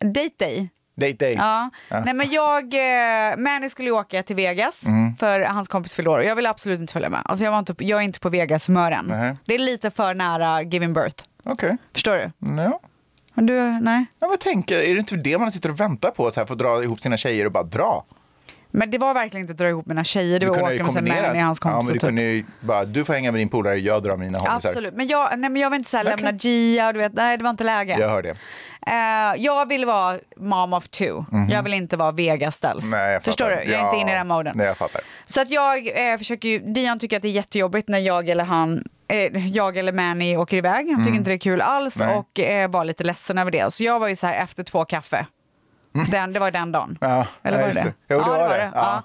[SPEAKER 5] date day.
[SPEAKER 4] date day.
[SPEAKER 5] Ja. Nej, men jag, eh, Manny skulle ju åka till Vegas
[SPEAKER 4] Mm.
[SPEAKER 5] för hans kompis fyllde år och jag ville absolut inte följa med. Alltså jag, var inte, jag är inte på Vegas humör än.
[SPEAKER 4] Nej.
[SPEAKER 5] Det är lite för nära giving birth.
[SPEAKER 4] Okej.
[SPEAKER 5] Förstår du?
[SPEAKER 4] Ja.
[SPEAKER 5] Men du, nej.
[SPEAKER 4] Ja, vad tänker, är det inte det man sitter och väntar på? Så här, för att dra ihop sina tjejer och bara dra.
[SPEAKER 5] Men det var verkligen inte att dra ihop mina tjejer, det var att åka med sig Manny och hans
[SPEAKER 4] ja,
[SPEAKER 5] kompisar.
[SPEAKER 4] men du
[SPEAKER 5] typ.
[SPEAKER 4] kunde ju bara, du får hänga med din polare, jag drar mina homisar.
[SPEAKER 5] Absolut, men jag, nej, men jag vill inte så här,
[SPEAKER 4] Okej.
[SPEAKER 5] lämna Gia och du vet, nej det var inte läge.
[SPEAKER 4] Jag hör det.
[SPEAKER 5] Eh, jag vill vara mom of two, jag vill inte vara Vegas-ställs.
[SPEAKER 4] Mhm. Nej, jag
[SPEAKER 5] Förstår du?
[SPEAKER 4] fattar.
[SPEAKER 5] Jag är inte inne i den moden.
[SPEAKER 4] Nej, jag fattar.
[SPEAKER 5] Så att jag eh, försöker ju, Dion tycker att det är jättejobbigt när jag eller han eh, jag eller Manny åker iväg. Han tycker inte det är kul alls
[SPEAKER 4] Mm. Nej.
[SPEAKER 5] och eh, var lite ledsen över det. Så jag var ju så här efter två kaffe. Den, det var den dagen.
[SPEAKER 4] Mm. Ja,
[SPEAKER 5] Eller
[SPEAKER 4] ja,
[SPEAKER 5] var det
[SPEAKER 4] just
[SPEAKER 5] det?
[SPEAKER 4] det. Jo, det var det. Ja.
[SPEAKER 5] Ja.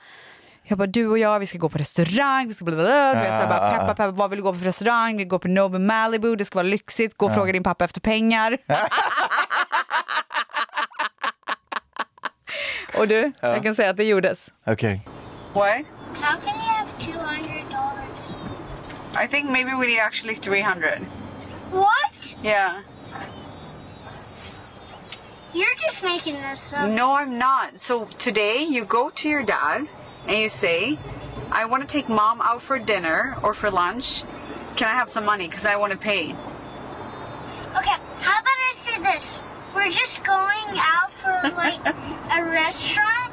[SPEAKER 5] Jag bara, du och jag, vi ska gå på restaurang, vi ska bla bla bla. Du vet, så här, bara, peppa, peppa, vad vill du gå på för restaurang? Vi går på Nova Malibu, det ska vara lyxigt. Gå och fråga din pappa efter pengar. och du, jag kan säga att det gjordes.
[SPEAKER 4] Okej.
[SPEAKER 5] Why?
[SPEAKER 8] How can you have two hundred dollars?
[SPEAKER 5] I think maybe we need actually 300.
[SPEAKER 8] What?
[SPEAKER 5] Yeah.
[SPEAKER 8] You're just making this up.
[SPEAKER 5] No, I'm not. So today you go to your dad and you say, I want to take mom out for dinner or for lunch. Can I have some money? Because I want to pay.
[SPEAKER 8] Okay, how about I say this? We're just going out for like a restaurant.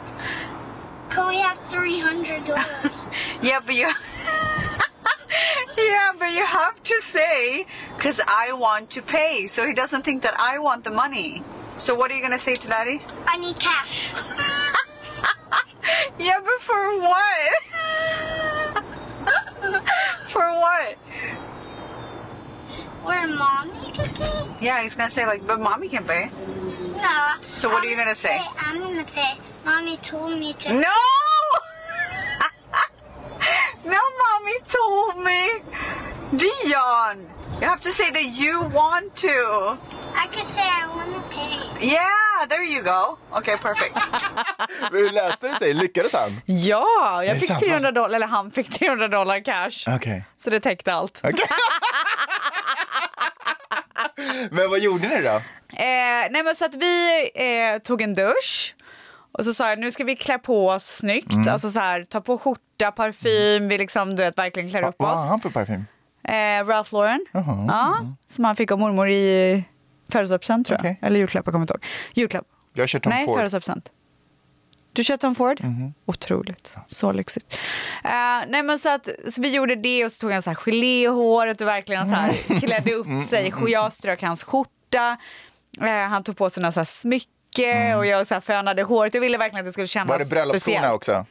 [SPEAKER 8] Can we have three hundred dollars?
[SPEAKER 5] Yeah, but you. yeah, but you have to say, because I want to pay. So he doesn't think that I want the money. So what are you going to say to daddy?
[SPEAKER 8] I need cash.
[SPEAKER 5] Yeah, but for what? for what?
[SPEAKER 8] Where mommy could pay?
[SPEAKER 5] Yeah, he's going to say, like, but mommy can pay.
[SPEAKER 8] No.
[SPEAKER 5] So what are you
[SPEAKER 8] I'm
[SPEAKER 5] gonna say?
[SPEAKER 8] I'm gonna pay. Mommy told me to.
[SPEAKER 5] No! no, mommy told me. Dion, you have to say that you want to.
[SPEAKER 8] I could say I wanna pay.
[SPEAKER 5] Yeah, there you go. Okay, perfect.
[SPEAKER 4] Hur läste det sig? Lyckades han?
[SPEAKER 5] ja, jag
[SPEAKER 4] det
[SPEAKER 5] fick
[SPEAKER 4] sant,
[SPEAKER 5] 300
[SPEAKER 4] alltså?
[SPEAKER 5] dollar, eller han fick 300 dollar cash.
[SPEAKER 4] Okej.
[SPEAKER 5] Så det täckte allt.
[SPEAKER 4] Men vad gjorde ni då?
[SPEAKER 5] Eh, nej men så att vi eh, tog en dusch och så sa jag nu ska vi klä på oss snyggt,
[SPEAKER 4] Mm.
[SPEAKER 5] alltså så här ta på skjorta, parfym, vi liksom du vet verkligen klär upp
[SPEAKER 4] Vad har
[SPEAKER 5] oss.
[SPEAKER 4] han för parfym?
[SPEAKER 5] Eh, Ralph Lauren.
[SPEAKER 4] Jaha. Mm.
[SPEAKER 5] Ja, som han fick av mormor i födelsedagspresent tror jag.
[SPEAKER 4] Okej.
[SPEAKER 5] Eller julklapp, jag kommer inte ihåg. Julklapp.
[SPEAKER 4] Jag kör Tom
[SPEAKER 5] Nej,
[SPEAKER 4] Ford. Mhm.
[SPEAKER 5] födelsedagspresent. Du kör Tom Ford? Otroligt. Så lyxigt. Eh, nej men så att, så vi gjorde det och så tog han så här gelé i håret och verkligen så
[SPEAKER 4] Mm.
[SPEAKER 5] här klädde upp sig. Och jag strök hans skjorta. Eh, han tog på sig några så här smycke och jag så här fönade håret. Jag ville verkligen att det skulle kännas
[SPEAKER 4] Mm. Var det bröllopsskorna
[SPEAKER 5] speciellt.
[SPEAKER 4] också?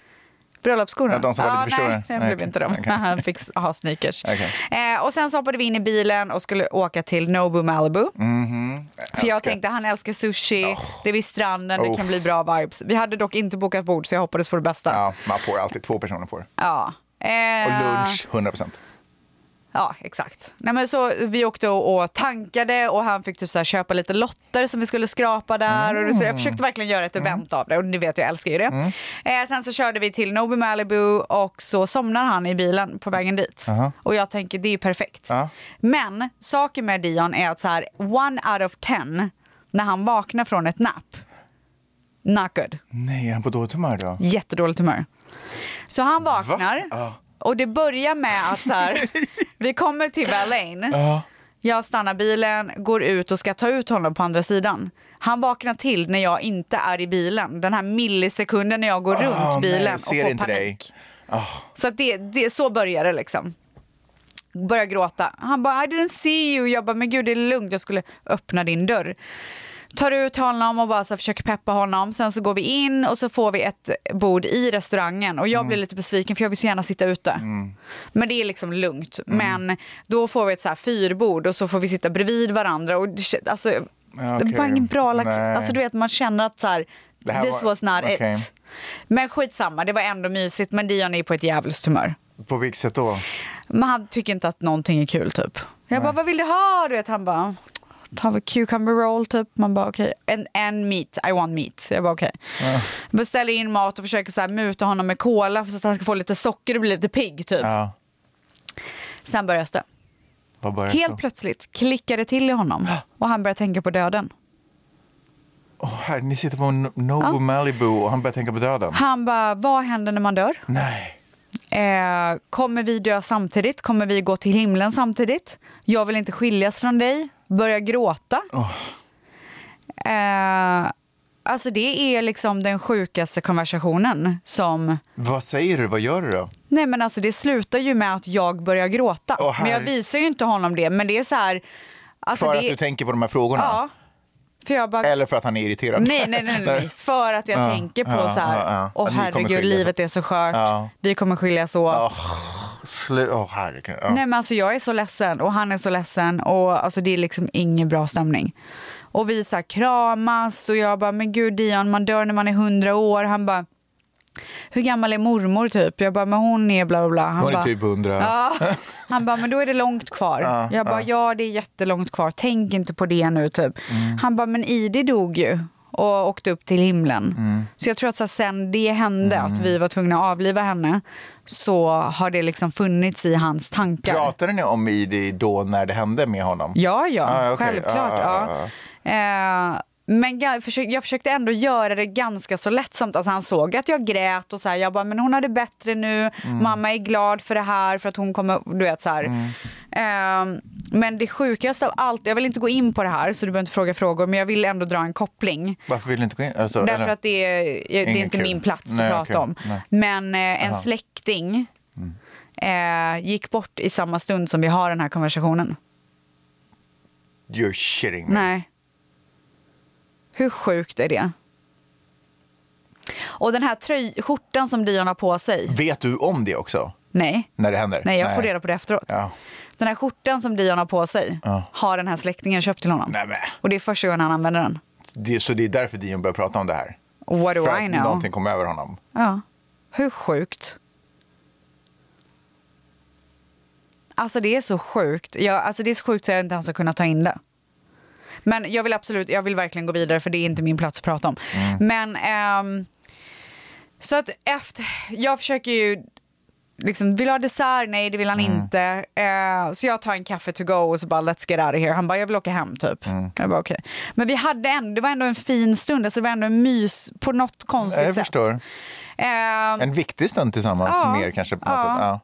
[SPEAKER 5] Bröllopsskorna?
[SPEAKER 4] Ja, de som var lite för stora.
[SPEAKER 5] Nej,
[SPEAKER 4] Nej,
[SPEAKER 5] det blev
[SPEAKER 4] okej.
[SPEAKER 5] inte de.
[SPEAKER 4] Okej.
[SPEAKER 5] Han fick ha sneakers.
[SPEAKER 4] Okej.
[SPEAKER 5] Eh, och sen så hoppade vi in i bilen och skulle åka till Nobu Malibu. För jag
[SPEAKER 4] Mhm. älskar.
[SPEAKER 5] tänkte han älskar sushi, det är vid stranden, det
[SPEAKER 4] Oh.
[SPEAKER 5] kan bli bra vibes. Vi hade dock inte bokat bord så jag hoppades på det bästa.
[SPEAKER 4] Ja, man får alltid, två personer får.
[SPEAKER 5] Ja. Eh,
[SPEAKER 4] Och lunch, 100 procent.
[SPEAKER 5] Ja, exakt. Nej, men så vi åkte och, och tankade och han fick typ så här köpa lite lotter som vi skulle skrapa där. Och det- så jag försökte verkligen göra ett event av det och ni vet jag älskar ju det. Eh, sen så körde vi till Nobu Malibu och så somnar han i bilen på vägen dit. Och jag tänker det är perfekt.
[SPEAKER 4] Ja.
[SPEAKER 5] Men saken med Dion är att så här one out of ten när han vaknar från ett napp, not good.
[SPEAKER 4] Nej, är han på dåligt humör då?
[SPEAKER 5] Jättedåligt humör. Så han vaknar
[SPEAKER 4] Ja.
[SPEAKER 5] och det börjar med att så här, vi kommer till Valaine. Jag stannar bilen, går ut och ska ta ut honom på andra sidan. Han vaknar till när jag inte är i bilen. Den här millisekunden när jag går
[SPEAKER 4] Ah,
[SPEAKER 5] runt
[SPEAKER 4] nej,
[SPEAKER 5] bilen
[SPEAKER 4] jag ser
[SPEAKER 5] och får
[SPEAKER 4] inte
[SPEAKER 5] panik.
[SPEAKER 4] dig.
[SPEAKER 5] Så att det, det, så börjar det liksom. Börjar gråta. Han bara I didn't see you. Jag bara men gud det är lugnt jag skulle öppna din dörr. tar ut honom och bara så här försöker peppa honom. Sen så går vi in och så får vi ett bord i restaurangen och jag
[SPEAKER 4] Mm.
[SPEAKER 5] blir lite besviken för jag vill så gärna sitta ute. Men det är liksom lugnt.
[SPEAKER 4] Mm.
[SPEAKER 5] Men då får vi ett så här fyrbord och så får vi sitta bredvid varandra och det, kän- alltså, det
[SPEAKER 4] okej.
[SPEAKER 5] var ingen bra lax.
[SPEAKER 4] Nej.
[SPEAKER 5] Alltså du vet man känner att så här,
[SPEAKER 4] Det här
[SPEAKER 5] this
[SPEAKER 4] var-
[SPEAKER 5] was not
[SPEAKER 4] okej.
[SPEAKER 5] it. Men skitsamma, det var ändå mysigt. Men Dion är på ett djävulskt humör.
[SPEAKER 4] På vilket sätt då?
[SPEAKER 5] Men han tycker inte att någonting är kul typ. Jag bara, vad vill du ha? Du vet, han bara, ta en cucumber roll typ. Man bara, okej. And, and meat, I want meat. Jag bara, okej. Beställer in mat och försöker så här muta honom med cola så att han ska få lite socker och bli lite pigg typ.
[SPEAKER 4] Ja,
[SPEAKER 5] Sen börjas det.
[SPEAKER 4] vad börjar
[SPEAKER 5] Helt
[SPEAKER 4] så?
[SPEAKER 5] plötsligt klickar det till i honom och han börjar tänka på döden.
[SPEAKER 4] Åh, herre, ni sitter på en Nobu Malibu och han börjar tänka på döden.
[SPEAKER 5] Han bara, vad händer när man dör?
[SPEAKER 4] Nej.
[SPEAKER 5] Eh, kommer vi dö samtidigt? Kommer vi gå till himlen samtidigt? Jag vill inte skiljas från dig. Börja gråta. Eh, alltså det är liksom den sjukaste konversationen som...
[SPEAKER 4] Vad säger du? Vad gör du då?
[SPEAKER 5] Nej men alltså det slutar ju med att jag börjar gråta.
[SPEAKER 4] Åh, herre-
[SPEAKER 5] men jag visar ju inte honom det. Men det är så här... Alltså
[SPEAKER 4] för
[SPEAKER 5] det...
[SPEAKER 4] att du tänker på de här frågorna?
[SPEAKER 5] Ja. För jag bara...
[SPEAKER 4] Eller för att han är irriterad?
[SPEAKER 5] Nej, nej, nej, nej, nej. För att jag
[SPEAKER 4] Ja,
[SPEAKER 5] tänker på
[SPEAKER 4] ja,
[SPEAKER 5] så här,
[SPEAKER 4] ja, ja.
[SPEAKER 5] åh
[SPEAKER 4] Att ni kommer
[SPEAKER 5] herregud,
[SPEAKER 4] skiljas.
[SPEAKER 5] livet är så skört,
[SPEAKER 4] Ja.
[SPEAKER 5] vi kommer skiljas åt.
[SPEAKER 4] Slu- Åh, herregud. Ja.
[SPEAKER 5] Nej men alltså jag är så ledsen och han är så ledsen och alltså det är liksom ingen bra stämning. Och vi så här kramas och jag bara, men gud Dion, man dör när man är hundra år. Han bara, hur gammal är mormor typ? Jag bara, men hon är bla bla bla. Han
[SPEAKER 4] Hon är
[SPEAKER 5] bara,
[SPEAKER 4] typ 100.
[SPEAKER 5] Ja. Han bara, men då är det långt kvar. jag bara, ja det är jättelångt kvar, tänk inte på det nu typ. Han bara, men Idi dog ju och åkte upp till himlen. Så jag tror att så här, sen det hände, att vi var tvungna att avliva henne, så har det liksom funnits i hans tankar.
[SPEAKER 4] Pratade ni om Idi då när det hände med honom?
[SPEAKER 5] Ja, ja,
[SPEAKER 4] Ah, okej.
[SPEAKER 5] självklart.
[SPEAKER 4] Ah, ah,
[SPEAKER 5] ja. Eh, men jag försökte, jag försökte ändå göra det ganska så lättsamt. Alltså han såg att jag grät och så här, jag bara, men hon har det bättre nu.
[SPEAKER 4] Mm.
[SPEAKER 5] Mamma är glad för det här för att hon kommer, du vet så här. Eh, men det sjukaste av allt, jag vill inte gå in på det här så du behöver inte fråga frågor, men jag vill ändå dra en koppling.
[SPEAKER 4] Varför vill du inte gå in? Alltså,
[SPEAKER 5] Därför
[SPEAKER 4] eller-
[SPEAKER 5] att det är, det är
[SPEAKER 4] Inget
[SPEAKER 5] inte
[SPEAKER 4] kul.
[SPEAKER 5] min plats att
[SPEAKER 4] Nej,
[SPEAKER 5] prata
[SPEAKER 4] okej.
[SPEAKER 5] om.
[SPEAKER 4] Nej. Mm.
[SPEAKER 5] Men eh, en släkting eh, gick bort i samma stund som vi har den här konversationen.
[SPEAKER 4] You're shitting me.
[SPEAKER 5] Nej. Hur sjukt är det? Och den här tröj- skjortan som Dion har på sig.
[SPEAKER 4] Vet du om det också?
[SPEAKER 5] Nej.
[SPEAKER 4] När det händer?
[SPEAKER 5] Nej, jag får reda på det efteråt.
[SPEAKER 4] Ja.
[SPEAKER 5] Den här skjortan som Dion har på sig
[SPEAKER 4] Ja.
[SPEAKER 5] har den här släktingen köpt till honom.
[SPEAKER 4] Nej, men.
[SPEAKER 5] Och det är första gången han använder den.
[SPEAKER 4] det. Så det är därför Dion börjar prata om det här?
[SPEAKER 5] What do
[SPEAKER 4] för
[SPEAKER 5] I
[SPEAKER 4] att
[SPEAKER 5] know?
[SPEAKER 4] någonting kom över honom?
[SPEAKER 5] Ja. Hur sjukt? Alltså det är så sjukt. Jag, alltså det är så sjukt så jag inte ens har kunnat ta in det. Men jag vill absolut, jag vill verkligen gå vidare för det är inte min plats att prata om.
[SPEAKER 4] Mm.
[SPEAKER 5] Men ehm, så att efter, jag försöker ju liksom, vill du ha dessert? Nej, det vill han
[SPEAKER 4] Mm.
[SPEAKER 5] inte. Eh, så jag tar en kaffe to go och så bara let's get out of here. Han bara, jag vill åka hem typ.
[SPEAKER 4] Mm.
[SPEAKER 5] Jag bara, okej. Men vi hade ändå, det var ändå en fin stund, alltså det var ändå en mys på något konstigt
[SPEAKER 4] Jag
[SPEAKER 5] sätt.
[SPEAKER 4] förstår.
[SPEAKER 5] Eh,
[SPEAKER 4] En viktig stund tillsammans mer kanske på något
[SPEAKER 5] ja.
[SPEAKER 4] sätt. Ja.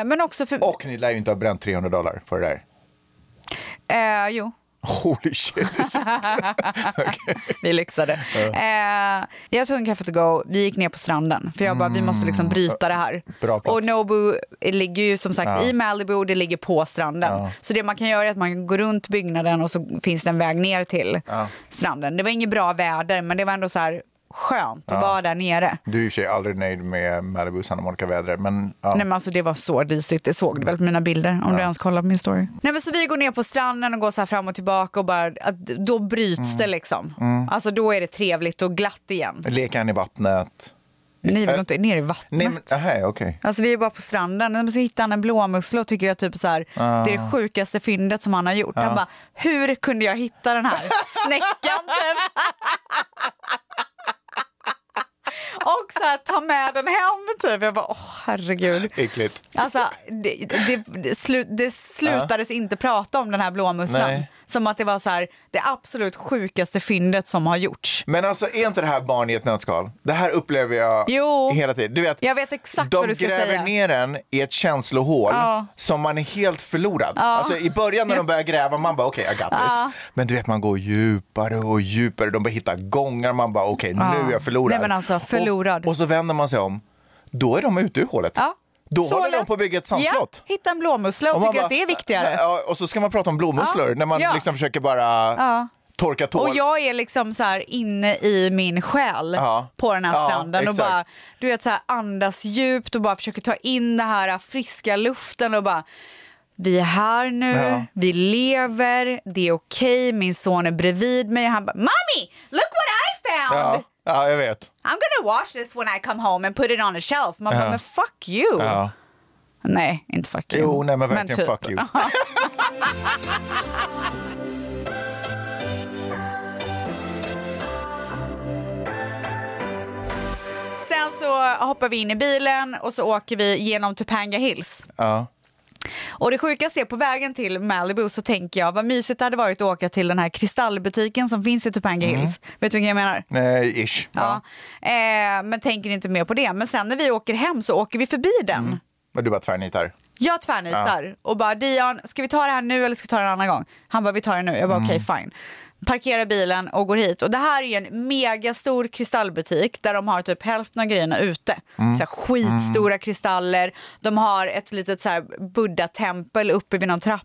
[SPEAKER 5] Eh, men också för...
[SPEAKER 4] Och ni lär ju inte ha bränt 300 dollar på det där.
[SPEAKER 5] Eh, jo,
[SPEAKER 4] Holy shit.
[SPEAKER 5] vi lyxade. Eh, jag tog en kaffe to go, vi gick ner på stranden. För jag bara, vi måste liksom bryta det här.
[SPEAKER 4] Mm. Bra plats.
[SPEAKER 5] och Nobu ligger ju som sagt i Malibu och det ligger på stranden. Så det man kan göra är att man går runt byggnaden och så finns det en väg ner till stranden. Det var inget bra väder men det var ändå så här skönt att vara där nere.
[SPEAKER 4] Du är i och för sig aldrig nöjd med Malibu Santa Monica-vädret, men ja.
[SPEAKER 5] Nej men alltså det var så risigt, det såg du väl på mina bilder om du ens kollar på min story. Nej men så vi går ner på stranden och går så här fram och tillbaka och bara, att, då bryts det liksom. Alltså då är det trevligt och glatt igen.
[SPEAKER 4] Leker han i vattnet?
[SPEAKER 5] Nej vi går
[SPEAKER 4] Äh,
[SPEAKER 5] inte ner i vattnet.
[SPEAKER 4] Nej, men aha, okej.
[SPEAKER 5] Alltså vi är bara på stranden, men så hittar han en blåmussla och tycker att typ så här, det är det sjukaste fyndet som han har gjort. Han bara, hur kunde jag hitta den här snäckan typ? Och så här, ta med den hem typ. Jag bara, åh herregud.
[SPEAKER 4] Äckligt.
[SPEAKER 5] Alltså, det, det, det, slu, det slutades inte prata om den här blåmusslan.
[SPEAKER 4] Nej.
[SPEAKER 5] Som att det var så här, det absolut sjukaste fyndet som har gjorts.
[SPEAKER 4] Men alltså, är inte det här barn i ett nötskal? Det här upplever jag
[SPEAKER 5] Jo.
[SPEAKER 4] hela tiden. Du vet,
[SPEAKER 5] Jag vet exakt
[SPEAKER 4] de
[SPEAKER 5] vad du ska
[SPEAKER 4] gräver
[SPEAKER 5] säga.
[SPEAKER 4] ner en i ett känslohål
[SPEAKER 5] Ja.
[SPEAKER 4] som man är helt förlorad. Alltså, I början när de börjar gräva, man bara okej, I got this. Men du vet, man går djupare och djupare. De börjar hitta gångar, man bara okej, nu är jag förlorad.
[SPEAKER 5] Nej, men alltså, förlorad.
[SPEAKER 4] Och, och så vänder man sig om, då är de ute ur hålet.
[SPEAKER 5] Ja.
[SPEAKER 4] Då
[SPEAKER 5] Så
[SPEAKER 4] håller de
[SPEAKER 5] lätt.
[SPEAKER 4] på att bygga ett sandslott.
[SPEAKER 5] Ja, hitta en blåmussla och,
[SPEAKER 4] Och man
[SPEAKER 5] tycker att
[SPEAKER 4] bara-
[SPEAKER 5] det är viktigare.
[SPEAKER 4] Ja, och så ska man prata om blåmusslor
[SPEAKER 5] Ja,
[SPEAKER 4] när man
[SPEAKER 5] ja.
[SPEAKER 4] liksom försöker bara...
[SPEAKER 5] Ja.
[SPEAKER 4] torka tår.
[SPEAKER 5] Och jag är liksom så här inne i min själ
[SPEAKER 4] Ja.
[SPEAKER 5] på den här
[SPEAKER 4] Ja,
[SPEAKER 5] stranden och
[SPEAKER 4] exakt.
[SPEAKER 5] bara du vet, så här, andas djupt och bara försöker ta in den här friska luften och bara vi är här nu,
[SPEAKER 4] Ja.
[SPEAKER 5] vi lever, det är okej, min son är bredvid mig och han bara Mommy, look what I found!
[SPEAKER 4] ja. ja, jag vet.
[SPEAKER 5] I'm gonna wash this when I come home and put it on a shelf. Man bara,
[SPEAKER 4] Ja.
[SPEAKER 5] men fuck you!
[SPEAKER 4] Ja.
[SPEAKER 5] Nej, inte fuck you. typ.
[SPEAKER 4] Jo, nej men verkligen fuck you.
[SPEAKER 5] Sen så hoppar vi in i bilen och så åker vi genom Topanga Hills.
[SPEAKER 4] Ja.
[SPEAKER 5] Och det sjukaste är på vägen till Malibu så tänker jag vad mysigt det hade varit att åka till den här kristallbutiken som finns i Topanga Hills. Vet du vilken jag menar?
[SPEAKER 4] Nej, ish.
[SPEAKER 5] Ja.
[SPEAKER 4] Mm. Ja.
[SPEAKER 5] Eh, men tänker inte mer på det. Men sen när vi åker hem så åker vi förbi den.
[SPEAKER 4] Men du bara tvärnitar.
[SPEAKER 5] Jag tvärnitar och bara Dion, ska vi ta det här nu eller ska vi ta det en annan gång? Han bara, vi tar det nu. Jag bara, okej
[SPEAKER 4] Mm.
[SPEAKER 5] fine. Parkerar bilen och går hit. Och det här är ju en megastor kristallbutik där de har typ hälften av grejerna ute.
[SPEAKER 4] Mm.
[SPEAKER 5] Så här, skitstora kristaller. De har ett litet så här buddha-tempel uppe vid någon trappa.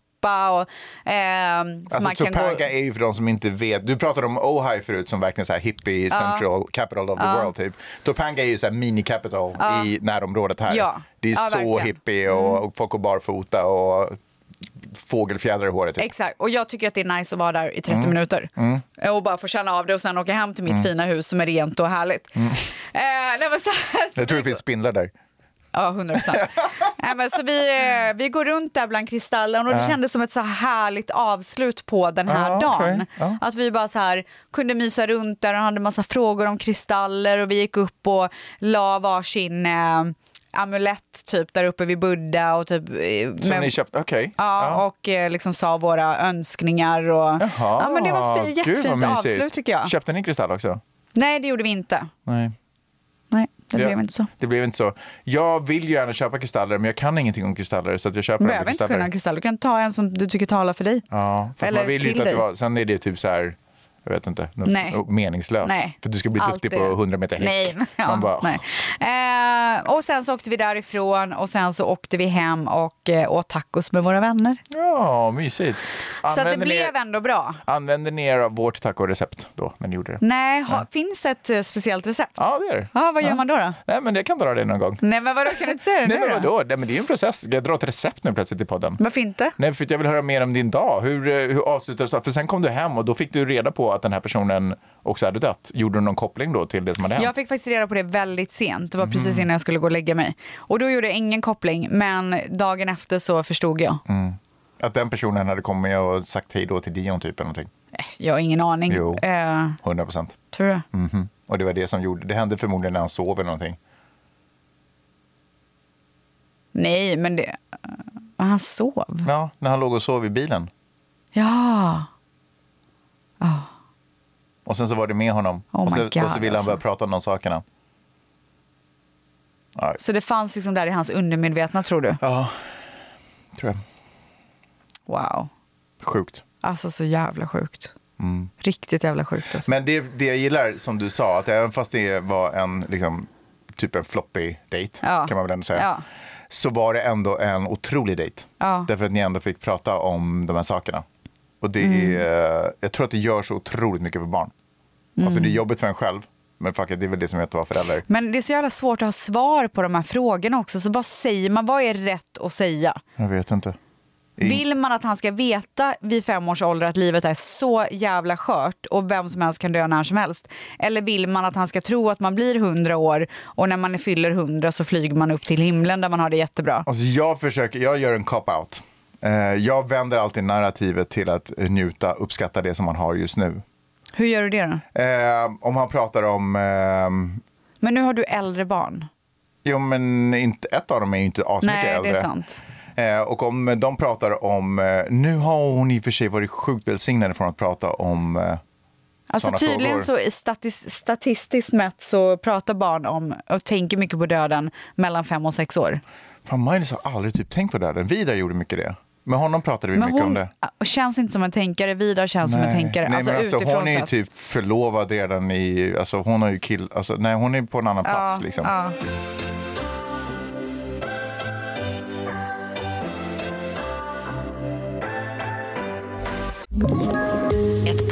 [SPEAKER 5] Och, ehm, så man
[SPEAKER 4] Alltså
[SPEAKER 5] kan
[SPEAKER 4] Topanga
[SPEAKER 5] gå...
[SPEAKER 4] är ju för de som inte vet. Du pratade om Ojai förut som verkligen så här hippie central capital of the world typ. Topanga är ju så här mini capital i närområdet här.
[SPEAKER 5] Ja.
[SPEAKER 4] Det är
[SPEAKER 5] Ja,
[SPEAKER 4] så
[SPEAKER 5] verkligen. Mm.
[SPEAKER 4] hippie och, och folk går barfota och fågelfjädrar i håret. Typ.
[SPEAKER 5] Exakt, och jag tycker att det är nice att vara där i 30
[SPEAKER 4] Mm.
[SPEAKER 5] minuter och bara få känna av det och sen åka hem till mitt fina hus som är rent och härligt. Eh, nej, men så här,
[SPEAKER 4] Mm. Jag tror det finns spindlar där.
[SPEAKER 5] Ja, 100 procent. så vi, eh, vi går runt där bland kristallen och det kändes som ett så härligt avslut på den här
[SPEAKER 4] Ja, okej.
[SPEAKER 5] dagen.
[SPEAKER 4] Ja.
[SPEAKER 5] Att vi bara så här kunde mysa runt där och hade massa frågor om kristaller och vi gick upp och la varsin eh, amulett typ där uppe vid Buddha och typ... eh,
[SPEAKER 4] Som
[SPEAKER 5] med-
[SPEAKER 4] ni köpte, okej.
[SPEAKER 5] Ja, och eh, liksom sa våra önskningar och... Ja, men det var fi-
[SPEAKER 4] Gud, vad
[SPEAKER 5] jättefint
[SPEAKER 4] mysigt.
[SPEAKER 5] avslut tycker jag.
[SPEAKER 4] Köpte ni kristall också?
[SPEAKER 5] Nej, det gjorde vi inte.
[SPEAKER 4] Nej.
[SPEAKER 5] Nej, det
[SPEAKER 4] Ja.
[SPEAKER 5] blev inte så.
[SPEAKER 4] Det blev inte så. Jag vill ju gärna köpa kristaller men jag kan ingenting om kristaller så att jag köper
[SPEAKER 5] Du
[SPEAKER 4] aldrig
[SPEAKER 5] behöver inte
[SPEAKER 4] kristaller.
[SPEAKER 5] kunna kristall, du kan ta en som du tycker talar för dig.
[SPEAKER 4] Ja, fast
[SPEAKER 5] Eller
[SPEAKER 4] man vill ju
[SPEAKER 5] till
[SPEAKER 4] inte att det
[SPEAKER 5] dig.
[SPEAKER 4] var, sen är det typ så här, jag vet inte, något
[SPEAKER 5] Nej.
[SPEAKER 4] meningslöst.
[SPEAKER 5] Nej.
[SPEAKER 4] För du ska bli duktig
[SPEAKER 5] Alltid.
[SPEAKER 4] på 100 meter häck.
[SPEAKER 5] Nej. men- Ja,
[SPEAKER 4] Man bara,
[SPEAKER 5] nej. Eh, och sen så åkte vi därifrån och sen så åkte vi hem och eh, åt tacos med våra vänner.
[SPEAKER 4] ja, mysigt.
[SPEAKER 5] så att det
[SPEAKER 4] Använder ni er-
[SPEAKER 5] blev ändå bra.
[SPEAKER 4] Använde ni er av vårt tacorecept då, när ni gjorde det?
[SPEAKER 5] Nej, ha, finns det ett eh, speciellt recept?
[SPEAKER 4] Ja, det är det.
[SPEAKER 5] Ja, vad gör man då då?
[SPEAKER 4] Nej, men jag kan dra det någon gång.
[SPEAKER 5] Nej, men vadå, kan du inte säga det
[SPEAKER 4] Nej,
[SPEAKER 5] nu
[SPEAKER 4] men
[SPEAKER 5] då?
[SPEAKER 4] vadå? Nej, men det är ju en process. Ska jag dra ett recept nu plötsligt i podden?
[SPEAKER 5] Varför inte?
[SPEAKER 4] Nej, för att jag vill höra mer om din dag. Hur, eh, hur avslutades det? För sen kom du hem och då fick du reda på att den här personen också hade dött. Gjorde du någon koppling då till det som hade hänt?
[SPEAKER 5] Jag fick faktiskt reda på det väldigt sent. Det var precis
[SPEAKER 4] Mm.
[SPEAKER 5] innan jag skulle gå och lägga mig. Och då gjorde jag ingen koppling, men dagen efter så förstod jag.
[SPEAKER 4] Mm. Att den personen hade kommit och sagt hej då till Dion typ eller någonting.
[SPEAKER 5] Eh, Jag har ingen aning.
[SPEAKER 4] Jo.
[SPEAKER 5] Eh,
[SPEAKER 4] 100 procent.
[SPEAKER 5] tror du?
[SPEAKER 4] Mhm. Och det var det som gjorde, det hände förmodligen när han sov eller någonting.
[SPEAKER 5] Nej, men det... eh, Han sov.
[SPEAKER 4] Ja, när han låg och sov i bilen.
[SPEAKER 5] Ja.
[SPEAKER 4] Och sen så var det med honom.
[SPEAKER 5] Oh
[SPEAKER 4] och, så,
[SPEAKER 5] my God,
[SPEAKER 4] och så ville han
[SPEAKER 5] alltså.
[SPEAKER 4] börja prata om de sakerna. Ja,
[SPEAKER 5] Så det fanns liksom där i hans undermedvetna tror du?
[SPEAKER 4] ja tror jag.
[SPEAKER 5] Wow.
[SPEAKER 4] Sjukt.
[SPEAKER 5] Alltså så jävla sjukt. Riktigt jävla sjukt alltså.
[SPEAKER 4] Mm. Men det, det jag gillar som du sa, att även fast det var en liksom, typ en floppy date
[SPEAKER 5] Ja.
[SPEAKER 4] kan man väl ändå säga.
[SPEAKER 5] Ja.
[SPEAKER 4] Så var det ändå en otrolig date.
[SPEAKER 5] Ja.
[SPEAKER 4] Därför att ni ändå fick prata om de här sakerna. Och det
[SPEAKER 5] Mm.
[SPEAKER 4] är, jag tror att det gör så otroligt mycket för barn. Alltså det är
[SPEAKER 5] Mm.
[SPEAKER 4] jobbigt för en själv. Men fuck it, det är väl det som heter att vara förälder.
[SPEAKER 5] Men det är så jävla svårt att ha svar på de här frågorna också. Så vad säger man? Vad är rätt att säga?
[SPEAKER 4] Jag vet inte. I-
[SPEAKER 5] Vill man att han ska veta vid fem års ålder att livet är så jävla skört och vem som helst kan dö när som helst? Eller vill man att han ska tro att man blir hundra år och när man fyller hundra så flyger man upp till himlen där man har det jättebra?
[SPEAKER 4] Alltså jag försöker, jag gör en cop-out. Eh, jag vänder alltid narrativet till att njuta, uppskatta det som man har just nu.
[SPEAKER 5] Hur gör du det då?
[SPEAKER 4] Eh, om han pratar om, eh,
[SPEAKER 5] Men nu har du äldre barn.
[SPEAKER 4] jo men inte, ett av dem är ju inte asmycket
[SPEAKER 5] Nej, det är
[SPEAKER 4] äldre.
[SPEAKER 5] sant.
[SPEAKER 4] Eh, och om de pratar om, eh, nu har hon i och för sig varit sjukt välsignad från att prata om eh,
[SPEAKER 5] Alltså
[SPEAKER 4] sådana frågor.
[SPEAKER 5] tydligen så i statis, statistiskt mätt så pratar barn om och tänker mycket på döden mellan fem och sex år.
[SPEAKER 4] Fan, Magnus har aldrig typ tänkt på döden. Vidar gjorde mycket det. Med honom pratade vi
[SPEAKER 5] Men
[SPEAKER 4] mycket om
[SPEAKER 5] hon
[SPEAKER 4] det.
[SPEAKER 5] äh, känns inte som en tänkare, Vidar känns som en tänkare.
[SPEAKER 4] nej,
[SPEAKER 5] alltså,
[SPEAKER 4] men alltså,
[SPEAKER 5] utifrån
[SPEAKER 4] hon är ju
[SPEAKER 5] sett.
[SPEAKER 4] typ förlovad redan i... Alltså, hon har ju kill... Alltså, nej, hon är på en annan plats. Liksom.
[SPEAKER 5] ja.
[SPEAKER 7] Ett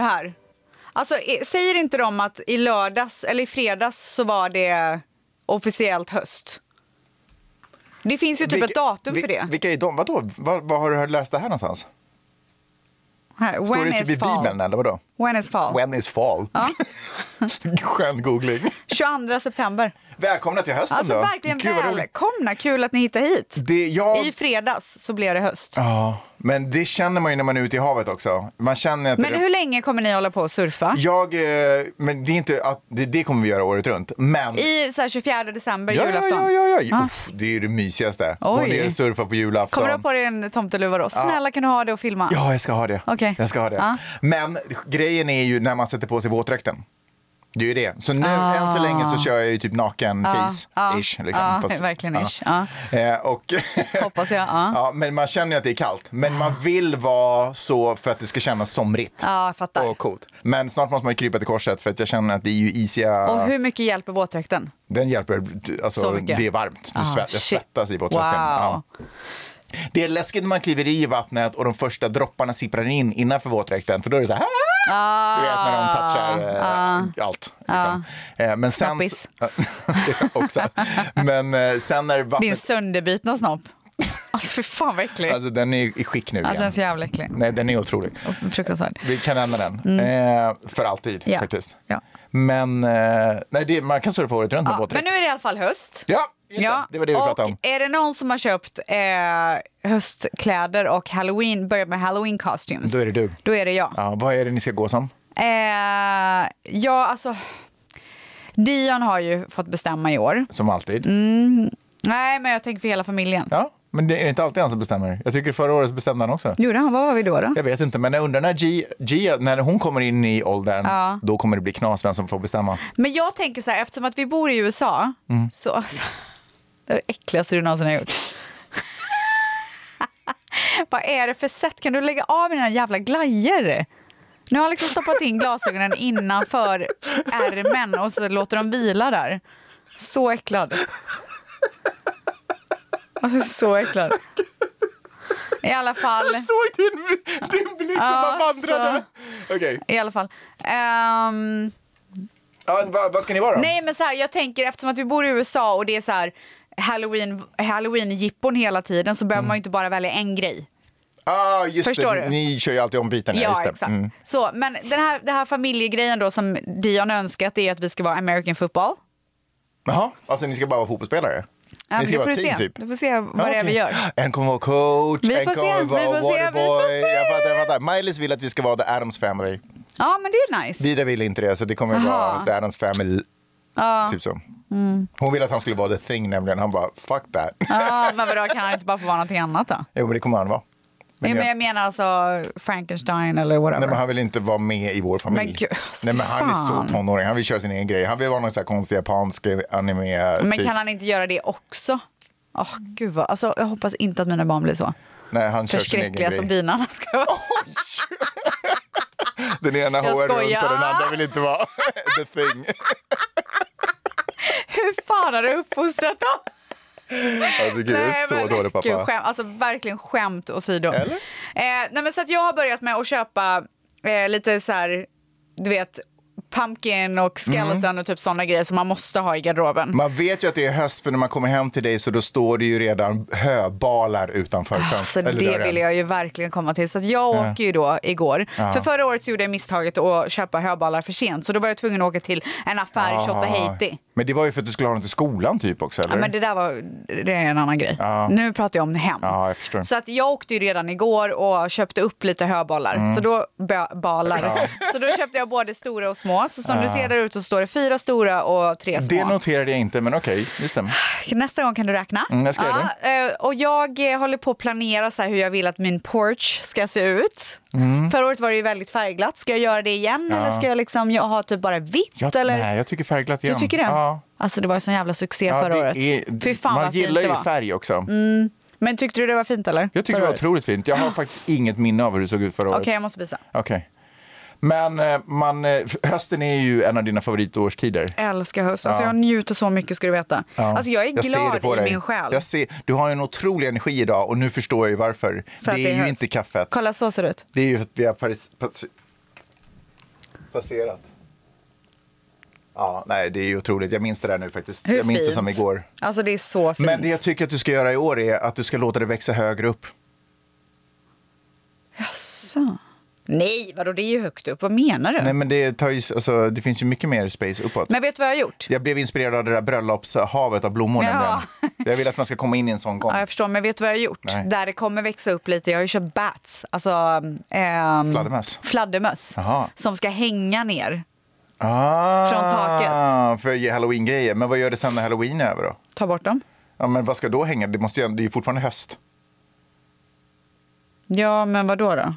[SPEAKER 5] här. Alltså, eh, säger inte de att i lördags eller i fredags så var det officiellt höst? Det finns ju typ ett datum
[SPEAKER 4] vil-
[SPEAKER 5] för det.
[SPEAKER 4] Vilka är de? Vadå? Var, var har du hört- läst det här någonstans?
[SPEAKER 5] Här,
[SPEAKER 4] Står
[SPEAKER 5] when
[SPEAKER 4] det typ i
[SPEAKER 5] is fall?
[SPEAKER 4] Bibeln eller vadå?
[SPEAKER 5] When is fall?
[SPEAKER 4] When is fall?
[SPEAKER 5] Ja.
[SPEAKER 4] Skön googling.
[SPEAKER 5] 22 september.
[SPEAKER 4] Välkomna till hösten
[SPEAKER 5] Alltså
[SPEAKER 4] då.
[SPEAKER 5] verkligen
[SPEAKER 4] Gud, vad roligt.
[SPEAKER 5] välkomna, kul att ni hittar hit.
[SPEAKER 4] Det, jag...
[SPEAKER 5] I fredags så blev det höst.
[SPEAKER 4] Ja, men det känner man ju när man är ute i havet också. Man känner att
[SPEAKER 5] Men
[SPEAKER 4] det...
[SPEAKER 5] hur länge kommer ni hålla på och surfa?
[SPEAKER 4] Jag, eh, men det är inte att, det, det kommer vi göra året runt. Men...
[SPEAKER 5] I så här 24 december,
[SPEAKER 4] ja, ja,
[SPEAKER 5] julafton?
[SPEAKER 4] ja, ja, ja.
[SPEAKER 5] Ah.
[SPEAKER 4] Uff, det är ju det mysigaste.
[SPEAKER 5] Oj.
[SPEAKER 4] Gå ner och surfa på julafton.
[SPEAKER 5] Kommer du ha på dig en tomteluva då? Snälla kan du ha det och filma?
[SPEAKER 4] Ja, jag ska ha det.
[SPEAKER 5] Okej. Ah.
[SPEAKER 4] Jag ska ha det.
[SPEAKER 5] Ja.
[SPEAKER 4] Men grejen är ju när man sätter på sig våtdräkten. Det är ju det. Så nu,
[SPEAKER 5] Ah.
[SPEAKER 4] än så länge så kör jag ju typ naken
[SPEAKER 5] Ja,
[SPEAKER 4] face
[SPEAKER 5] ja,
[SPEAKER 4] ish. Liksom.
[SPEAKER 5] ja,
[SPEAKER 4] Fast-
[SPEAKER 5] Ah, verkligen
[SPEAKER 4] ja.
[SPEAKER 5] ish. Ja.
[SPEAKER 4] Eh, och
[SPEAKER 5] Hoppas jag. Ja.
[SPEAKER 4] ja, men man känner ju att det är kallt. Men man vill vara så för att det ska kännas somrigt.
[SPEAKER 5] Ja, jag fattar.
[SPEAKER 4] Och coolt. Men snart måste man ju krypa till korset för att jag känner att det är ju isiga...
[SPEAKER 5] Och hur mycket hjälper våtdräkten?
[SPEAKER 4] Den hjälper, alltså
[SPEAKER 5] Så mycket.
[SPEAKER 4] det är varmt. Du
[SPEAKER 5] Ah,
[SPEAKER 4] svett, jag
[SPEAKER 5] shit.
[SPEAKER 4] svettas i våtdräkten. Ja. Det är läskigt när man kliver i vattnet och de första dropparna sipprar in innanför våtdräkten för då är det så här. "Ah!"
[SPEAKER 5] Ah.
[SPEAKER 4] Du vet när de touchar eh, allt. Liksom.
[SPEAKER 5] Ah.
[SPEAKER 4] Eh, men sen,
[SPEAKER 5] Snoppis.
[SPEAKER 4] Ja, också. Men eh, sen när
[SPEAKER 5] Din
[SPEAKER 4] vattnet...
[SPEAKER 5] sönderbitna snopp. Alltså fy fan vad äcklig. Alltså,
[SPEAKER 4] Alltså den är i skick nu
[SPEAKER 5] den är
[SPEAKER 4] igen.
[SPEAKER 5] så jävla äcklig.
[SPEAKER 4] Nej, den är otrolig.
[SPEAKER 5] Och Fruktansvärd.
[SPEAKER 4] Vi kan ändra den. Eh, för alltid
[SPEAKER 5] Mm. Ja.
[SPEAKER 4] faktiskt.
[SPEAKER 5] Ja.
[SPEAKER 4] Men eh, nej, det, man kan surfa året runt med
[SPEAKER 5] Ja,
[SPEAKER 4] våtdräkt.
[SPEAKER 5] men nu är det i alla fall höst.
[SPEAKER 4] Ja, just det. Det var det vi
[SPEAKER 5] och
[SPEAKER 4] pratade om.
[SPEAKER 5] Är det någon som har köpt eh, höstkläder och halloween, börjat med halloween costumes?
[SPEAKER 4] Då är det du.
[SPEAKER 5] Då är det jag.
[SPEAKER 4] Ja, vad är det ni ska gå som?
[SPEAKER 5] Eh, ja, alltså. Dion har ju fått bestämma i år.
[SPEAKER 4] Som alltid.
[SPEAKER 5] Mm. Nej, men jag tänker för hela familjen.
[SPEAKER 4] Ja, men det är inte alltid han som bestämmer. Jag tycker förra året så bestämde han också.
[SPEAKER 5] Gjorde han? Vad var vi då? då?
[SPEAKER 4] Jag vet inte, men jag undrar när Gia, Gia när hon kommer in i åldern,
[SPEAKER 5] Ja.
[SPEAKER 4] då kommer det bli knas vem som får bestämma.
[SPEAKER 5] Men jag tänker så här, eftersom att vi bor i USA, så... Alltså, det är det äckligaste du någonsin har gjort. Vad är det för sätt? Kan du lägga av med dina jävla glajjor? Nu har jag liksom stoppat in glasögonen innanför ärmen och så låter de vila där. Så äcklad. Alltså så äcklad. I alla fall.
[SPEAKER 4] såg din, din blick
[SPEAKER 5] Ja,
[SPEAKER 4] Okej,
[SPEAKER 5] I alla fall. Ehm,
[SPEAKER 4] ja, vad, vad ska ni vara då?
[SPEAKER 5] Nej men så här, jag tänker eftersom att vi bor i USA och det är så här halloween, halloween-jippon hela tiden så
[SPEAKER 4] Mm.
[SPEAKER 5] behöver man ju inte bara välja en grej.
[SPEAKER 4] Ah, just
[SPEAKER 5] Förstår
[SPEAKER 4] det.
[SPEAKER 5] du?
[SPEAKER 4] Ni kör ju alltid om biten.
[SPEAKER 5] Ja,
[SPEAKER 4] just det.
[SPEAKER 5] exakt.
[SPEAKER 4] Mm.
[SPEAKER 5] Så, men den här, den här familjegrejen då som Dion önskat är att vi ska vara American football.
[SPEAKER 4] Jaha, alltså ni ska bara vara fotbollsspelare?
[SPEAKER 5] Ja,
[SPEAKER 4] ni
[SPEAKER 5] men
[SPEAKER 4] ska
[SPEAKER 5] det får
[SPEAKER 4] vara
[SPEAKER 5] du
[SPEAKER 4] ett team
[SPEAKER 5] se.
[SPEAKER 4] typ?
[SPEAKER 5] Du får se vad det är vi
[SPEAKER 4] Okej.
[SPEAKER 5] gör.
[SPEAKER 4] En kommer vara coach,
[SPEAKER 5] Vi
[SPEAKER 4] en
[SPEAKER 5] får se,
[SPEAKER 4] kommer
[SPEAKER 5] vi
[SPEAKER 4] vara
[SPEAKER 5] får se, vi får
[SPEAKER 4] waterboy.
[SPEAKER 5] se.
[SPEAKER 4] Jag fattar, jag fattar. Miley vill att vi ska vara The Addams Family.
[SPEAKER 5] Ja men det är nice.
[SPEAKER 4] Vida vill inte det, så det kommer att
[SPEAKER 5] Aha. Mm.
[SPEAKER 4] vara The Addams Family. Typ så. Hon ville att han skulle vara The Thing nämligen. Han bara, fuck that.
[SPEAKER 5] Ja, men vadå kan han inte bara få vara någonting annat då?
[SPEAKER 4] jo, men det kommer han vara. Men
[SPEAKER 5] Men,
[SPEAKER 4] jag-
[SPEAKER 5] men jag menar alltså Frankenstein eller
[SPEAKER 4] Nej,
[SPEAKER 5] whatever.
[SPEAKER 4] men han vill inte vara med i vår familj.
[SPEAKER 5] Men gud, alltså,
[SPEAKER 4] Nej, men han är
[SPEAKER 5] fan.
[SPEAKER 4] så tonåring. Han vill köra sin egen grej. Han vill vara någon så här konstig japansk anime.
[SPEAKER 5] Men
[SPEAKER 4] typ.
[SPEAKER 5] kan han inte göra det också? Åh gud vad, alltså jag hoppas inte att mina barn blir så
[SPEAKER 4] Nej, han kör sin egen
[SPEAKER 5] förskräckliga
[SPEAKER 4] grej.
[SPEAKER 5] som dina ska vara.
[SPEAKER 4] Den ena
[SPEAKER 5] Jag
[SPEAKER 4] hoar runt och
[SPEAKER 5] skojar.
[SPEAKER 4] den andra vill inte vara the thing.
[SPEAKER 5] Hur fan har du uppfostrat dem?
[SPEAKER 4] Alltså gud, jag är så
[SPEAKER 5] men-
[SPEAKER 4] dålig pappa.
[SPEAKER 5] Gud, skäm, alltså verkligen skämt åsido.
[SPEAKER 4] Eller?
[SPEAKER 5] Eh, nej, men så att jag har börjat med att köpa eh, lite så här, du vet, pumpkin och skeleton
[SPEAKER 4] Mm.
[SPEAKER 5] och typ sådana grejer som man måste ha i garderoben.
[SPEAKER 4] Man vet ju att det är höst för när man kommer hem till dig så då står det ju redan höbalar utanför
[SPEAKER 5] Alltså,
[SPEAKER 4] fönstret.
[SPEAKER 5] det
[SPEAKER 4] eller dörren.
[SPEAKER 5] vill jag ju verkligen komma till. Så att jag åker ju då igår. För förra året så gjorde jag misstaget att köpa höbalar för sent. Så då var jag tvungen att åka till en affär i
[SPEAKER 4] Ah.
[SPEAKER 5] Tjotahejti.
[SPEAKER 4] Men det var ju för att du skulle ha dem till skolan typ också, eller?
[SPEAKER 5] Ja, men det där var det är en annan grej. Nu pratar jag om hem.
[SPEAKER 4] Ja, jag förstår.
[SPEAKER 5] Så att jag åkte ju redan igår och köpte upp lite höbollar.
[SPEAKER 4] Mm.
[SPEAKER 5] Så, då, ba- balar.
[SPEAKER 4] Ja.
[SPEAKER 5] så då köpte jag både stora och små. Så som
[SPEAKER 4] Ja.
[SPEAKER 5] du ser där ute så står det fyra stora och tre små.
[SPEAKER 4] det noterade jag inte, men okej, det stämmer.
[SPEAKER 5] Nästa gång kan du räkna.
[SPEAKER 4] Mm, jag ska göra
[SPEAKER 5] ja, eh, och jag eh, håller på att planera så här hur jag vill att min porch ska se ut.
[SPEAKER 4] Mm.
[SPEAKER 5] Förra året var det ju väldigt färgglatt. Ska jag göra det igen
[SPEAKER 4] Ja.
[SPEAKER 5] eller ska jag, liksom, jag ha typ bara vitt?
[SPEAKER 4] Jag,
[SPEAKER 5] eller?
[SPEAKER 4] Nej, jag tycker färgglatt
[SPEAKER 5] Du
[SPEAKER 4] igen.
[SPEAKER 5] tycker det?
[SPEAKER 4] Ja.
[SPEAKER 5] Alltså det var ju sån jävla succé
[SPEAKER 4] Ja,
[SPEAKER 5] förra
[SPEAKER 4] det
[SPEAKER 5] året.
[SPEAKER 4] är-
[SPEAKER 5] Fy fan
[SPEAKER 4] man
[SPEAKER 5] vad fint
[SPEAKER 4] gillar
[SPEAKER 5] det
[SPEAKER 4] ju
[SPEAKER 5] var.
[SPEAKER 4] färg också.
[SPEAKER 5] Mm. Men tyckte du det var fint eller?
[SPEAKER 4] Jag tycker det var otroligt fint. Jag har faktiskt inget minne av hur det såg ut förra
[SPEAKER 5] Okej,
[SPEAKER 4] året.
[SPEAKER 5] jag måste visa.
[SPEAKER 4] Okej. Men eh, man, eh, f- hösten är ju en av dina favoritårstider.
[SPEAKER 5] Älskar höst. Alltså
[SPEAKER 4] Ja.
[SPEAKER 5] jag njuter så mycket ska du veta.
[SPEAKER 4] Ja.
[SPEAKER 5] Alltså jag är
[SPEAKER 4] ser det på
[SPEAKER 5] glad i
[SPEAKER 4] dig.
[SPEAKER 5] min själ.
[SPEAKER 4] Jag ser, du har en otrolig energi idag och nu förstår jag ju varför.
[SPEAKER 5] För att
[SPEAKER 4] det
[SPEAKER 5] det
[SPEAKER 4] är,
[SPEAKER 5] är
[SPEAKER 4] ju
[SPEAKER 5] höst.
[SPEAKER 4] inte kaffet.
[SPEAKER 5] Kolla så ser det ut.
[SPEAKER 4] Det är ju för att vi har paris, pas, passerat. Ja, nej, det är ju otroligt. Jag minns det där nu faktiskt.
[SPEAKER 5] Hur
[SPEAKER 4] jag minns det
[SPEAKER 5] fint.
[SPEAKER 4] som igår.
[SPEAKER 5] Alltså det är så fint.
[SPEAKER 4] Men det jag tycker att du ska göra i år är att du ska låta det växa högre upp.
[SPEAKER 5] Jaså? Alltså. Nej, vadå det är ju högt upp. Vad menar du?
[SPEAKER 4] Nej, men det, tar ju, alltså, det finns ju mycket mer space uppåt.
[SPEAKER 5] Men vet du vad jag har gjort?
[SPEAKER 4] Jag blev inspirerad av det där bröllopshavet av blommor.
[SPEAKER 5] Ja.
[SPEAKER 4] nämligen. Jag vill att man ska komma in i en sån gång.
[SPEAKER 5] Ja, jag förstår, men vet du vad jag har gjort?
[SPEAKER 4] Nej.
[SPEAKER 5] Där det kommer växa upp lite. Jag har ju köpt bats, alltså ehm,
[SPEAKER 4] Fladdermöss.
[SPEAKER 5] fladdermöss
[SPEAKER 4] Jaha.
[SPEAKER 5] som ska hänga ner.
[SPEAKER 4] Ah,
[SPEAKER 5] Från taket.
[SPEAKER 4] För att ge halloween-grejer. Men vad gör det sen när halloween är över då?
[SPEAKER 5] Ta bort dem.
[SPEAKER 4] Ja, men vad ska då hänga? Det, måste ju, det är ju fortfarande höst.
[SPEAKER 5] Ja, men vad då då?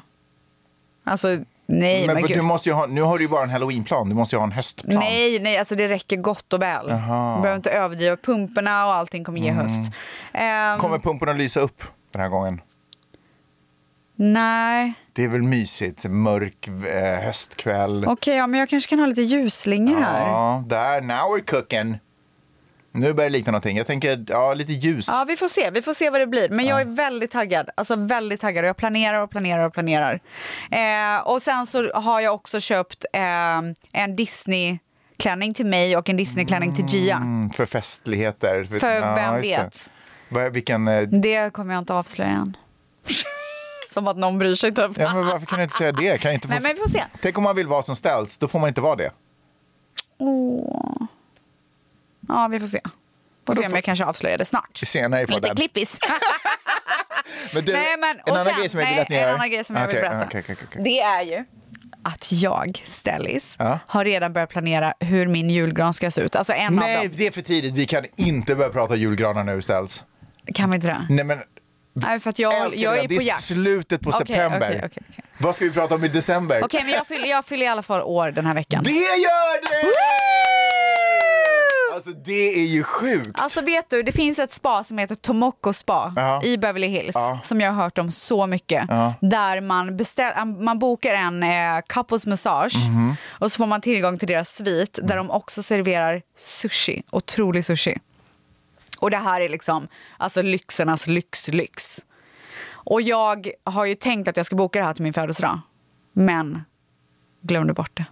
[SPEAKER 5] Alltså, nej, men,
[SPEAKER 4] men
[SPEAKER 5] gud.
[SPEAKER 4] du måste ju ha, nu har du ju bara en halloweenplan. Du måste ju ha en höstplan.
[SPEAKER 5] Nej, nej, alltså det räcker gott och väl.
[SPEAKER 4] Jaha.
[SPEAKER 5] Du behöver inte överdriva. Pumporna och allting kommer ge
[SPEAKER 4] Mm.
[SPEAKER 5] höst. Ehm,
[SPEAKER 4] Kommer pumporna lysa upp den här gången?
[SPEAKER 5] Nej,
[SPEAKER 4] Det är väl mysigt? Mörk eh, höstkväll.
[SPEAKER 5] okej, ja, men jag kanske kan ha lite ljusslingor här.
[SPEAKER 4] Ja, där. Now we're cooking. Nu börjar det likna någonting. Jag tänker, ja, lite ljus.
[SPEAKER 5] Ja, vi får se. Vi får se vad det blir. Men jag är väldigt taggad. Alltså väldigt taggad. Och Jag planerar och planerar och planerar. Eh, och sen så har jag också köpt eh, en Disney-klänning till mig och en Disney-klänning till Gia.
[SPEAKER 4] Mm, för festligheter.
[SPEAKER 5] För vem
[SPEAKER 4] just det.
[SPEAKER 5] vet?
[SPEAKER 4] Vad- Vilken... eh,
[SPEAKER 5] Det kommer jag inte avslöja än. Som att någon bryr sig typ.
[SPEAKER 4] Ja, men varför kan du inte säga det? Kan jag inte få...
[SPEAKER 5] Nej, men vi får se.
[SPEAKER 4] Tänk om man vill vara som ställs, då får man inte vara det.
[SPEAKER 5] Åh. Ja, vi får se. Får se om jag kanske avslöjar det snart.
[SPEAKER 4] Senare i
[SPEAKER 5] Lite
[SPEAKER 4] podden.
[SPEAKER 5] klippis.
[SPEAKER 4] Men du,
[SPEAKER 5] Nej, men-
[SPEAKER 4] en
[SPEAKER 5] och
[SPEAKER 4] annan
[SPEAKER 5] sen-
[SPEAKER 4] grej som jag vill
[SPEAKER 5] nej,
[SPEAKER 4] att ni
[SPEAKER 5] en
[SPEAKER 4] gör.
[SPEAKER 5] annan grej som jag vill
[SPEAKER 4] Okej,
[SPEAKER 5] berätta.
[SPEAKER 4] okej, okej, okej.
[SPEAKER 5] Det är ju att jag, Stellis, har redan börjat planera hur min julgran ska se ut. Alltså en av
[SPEAKER 4] Nej,
[SPEAKER 5] dem.
[SPEAKER 4] det är för tidigt. Vi kan inte börja prata julgranar nu ställs.
[SPEAKER 5] Kan vi inte det?
[SPEAKER 4] Nej, men
[SPEAKER 5] Nej, för att jag,
[SPEAKER 4] älskar
[SPEAKER 5] jag
[SPEAKER 4] det.
[SPEAKER 5] är
[SPEAKER 4] det
[SPEAKER 5] på
[SPEAKER 4] är
[SPEAKER 5] jakt.
[SPEAKER 4] slutet på
[SPEAKER 5] Okej,
[SPEAKER 4] september.
[SPEAKER 5] okej, okej, okej.
[SPEAKER 4] Vad ska vi prata om i december?
[SPEAKER 5] Okej, men jag fyller, jag fyller i alla fall år den här veckan.
[SPEAKER 4] Det gör det! Alltså det är ju sjukt.
[SPEAKER 5] Alltså vet du, det finns ett spa som heter Tomoko spa
[SPEAKER 4] Ja.
[SPEAKER 5] i Beverly Hills
[SPEAKER 4] Ja.
[SPEAKER 5] som jag har hört om så mycket.
[SPEAKER 4] Ja.
[SPEAKER 5] Där man, beställ, man bokar en eh, couples massage
[SPEAKER 4] Mhm. Mm.
[SPEAKER 5] och så får man tillgång till deras svit där de också serverar sushi, otrolig sushi. Och det här är liksom alltså lyxernas lyx-lyx. Och jag har ju tänkt att jag ska boka det här till min födelsedag, men glömde bort det.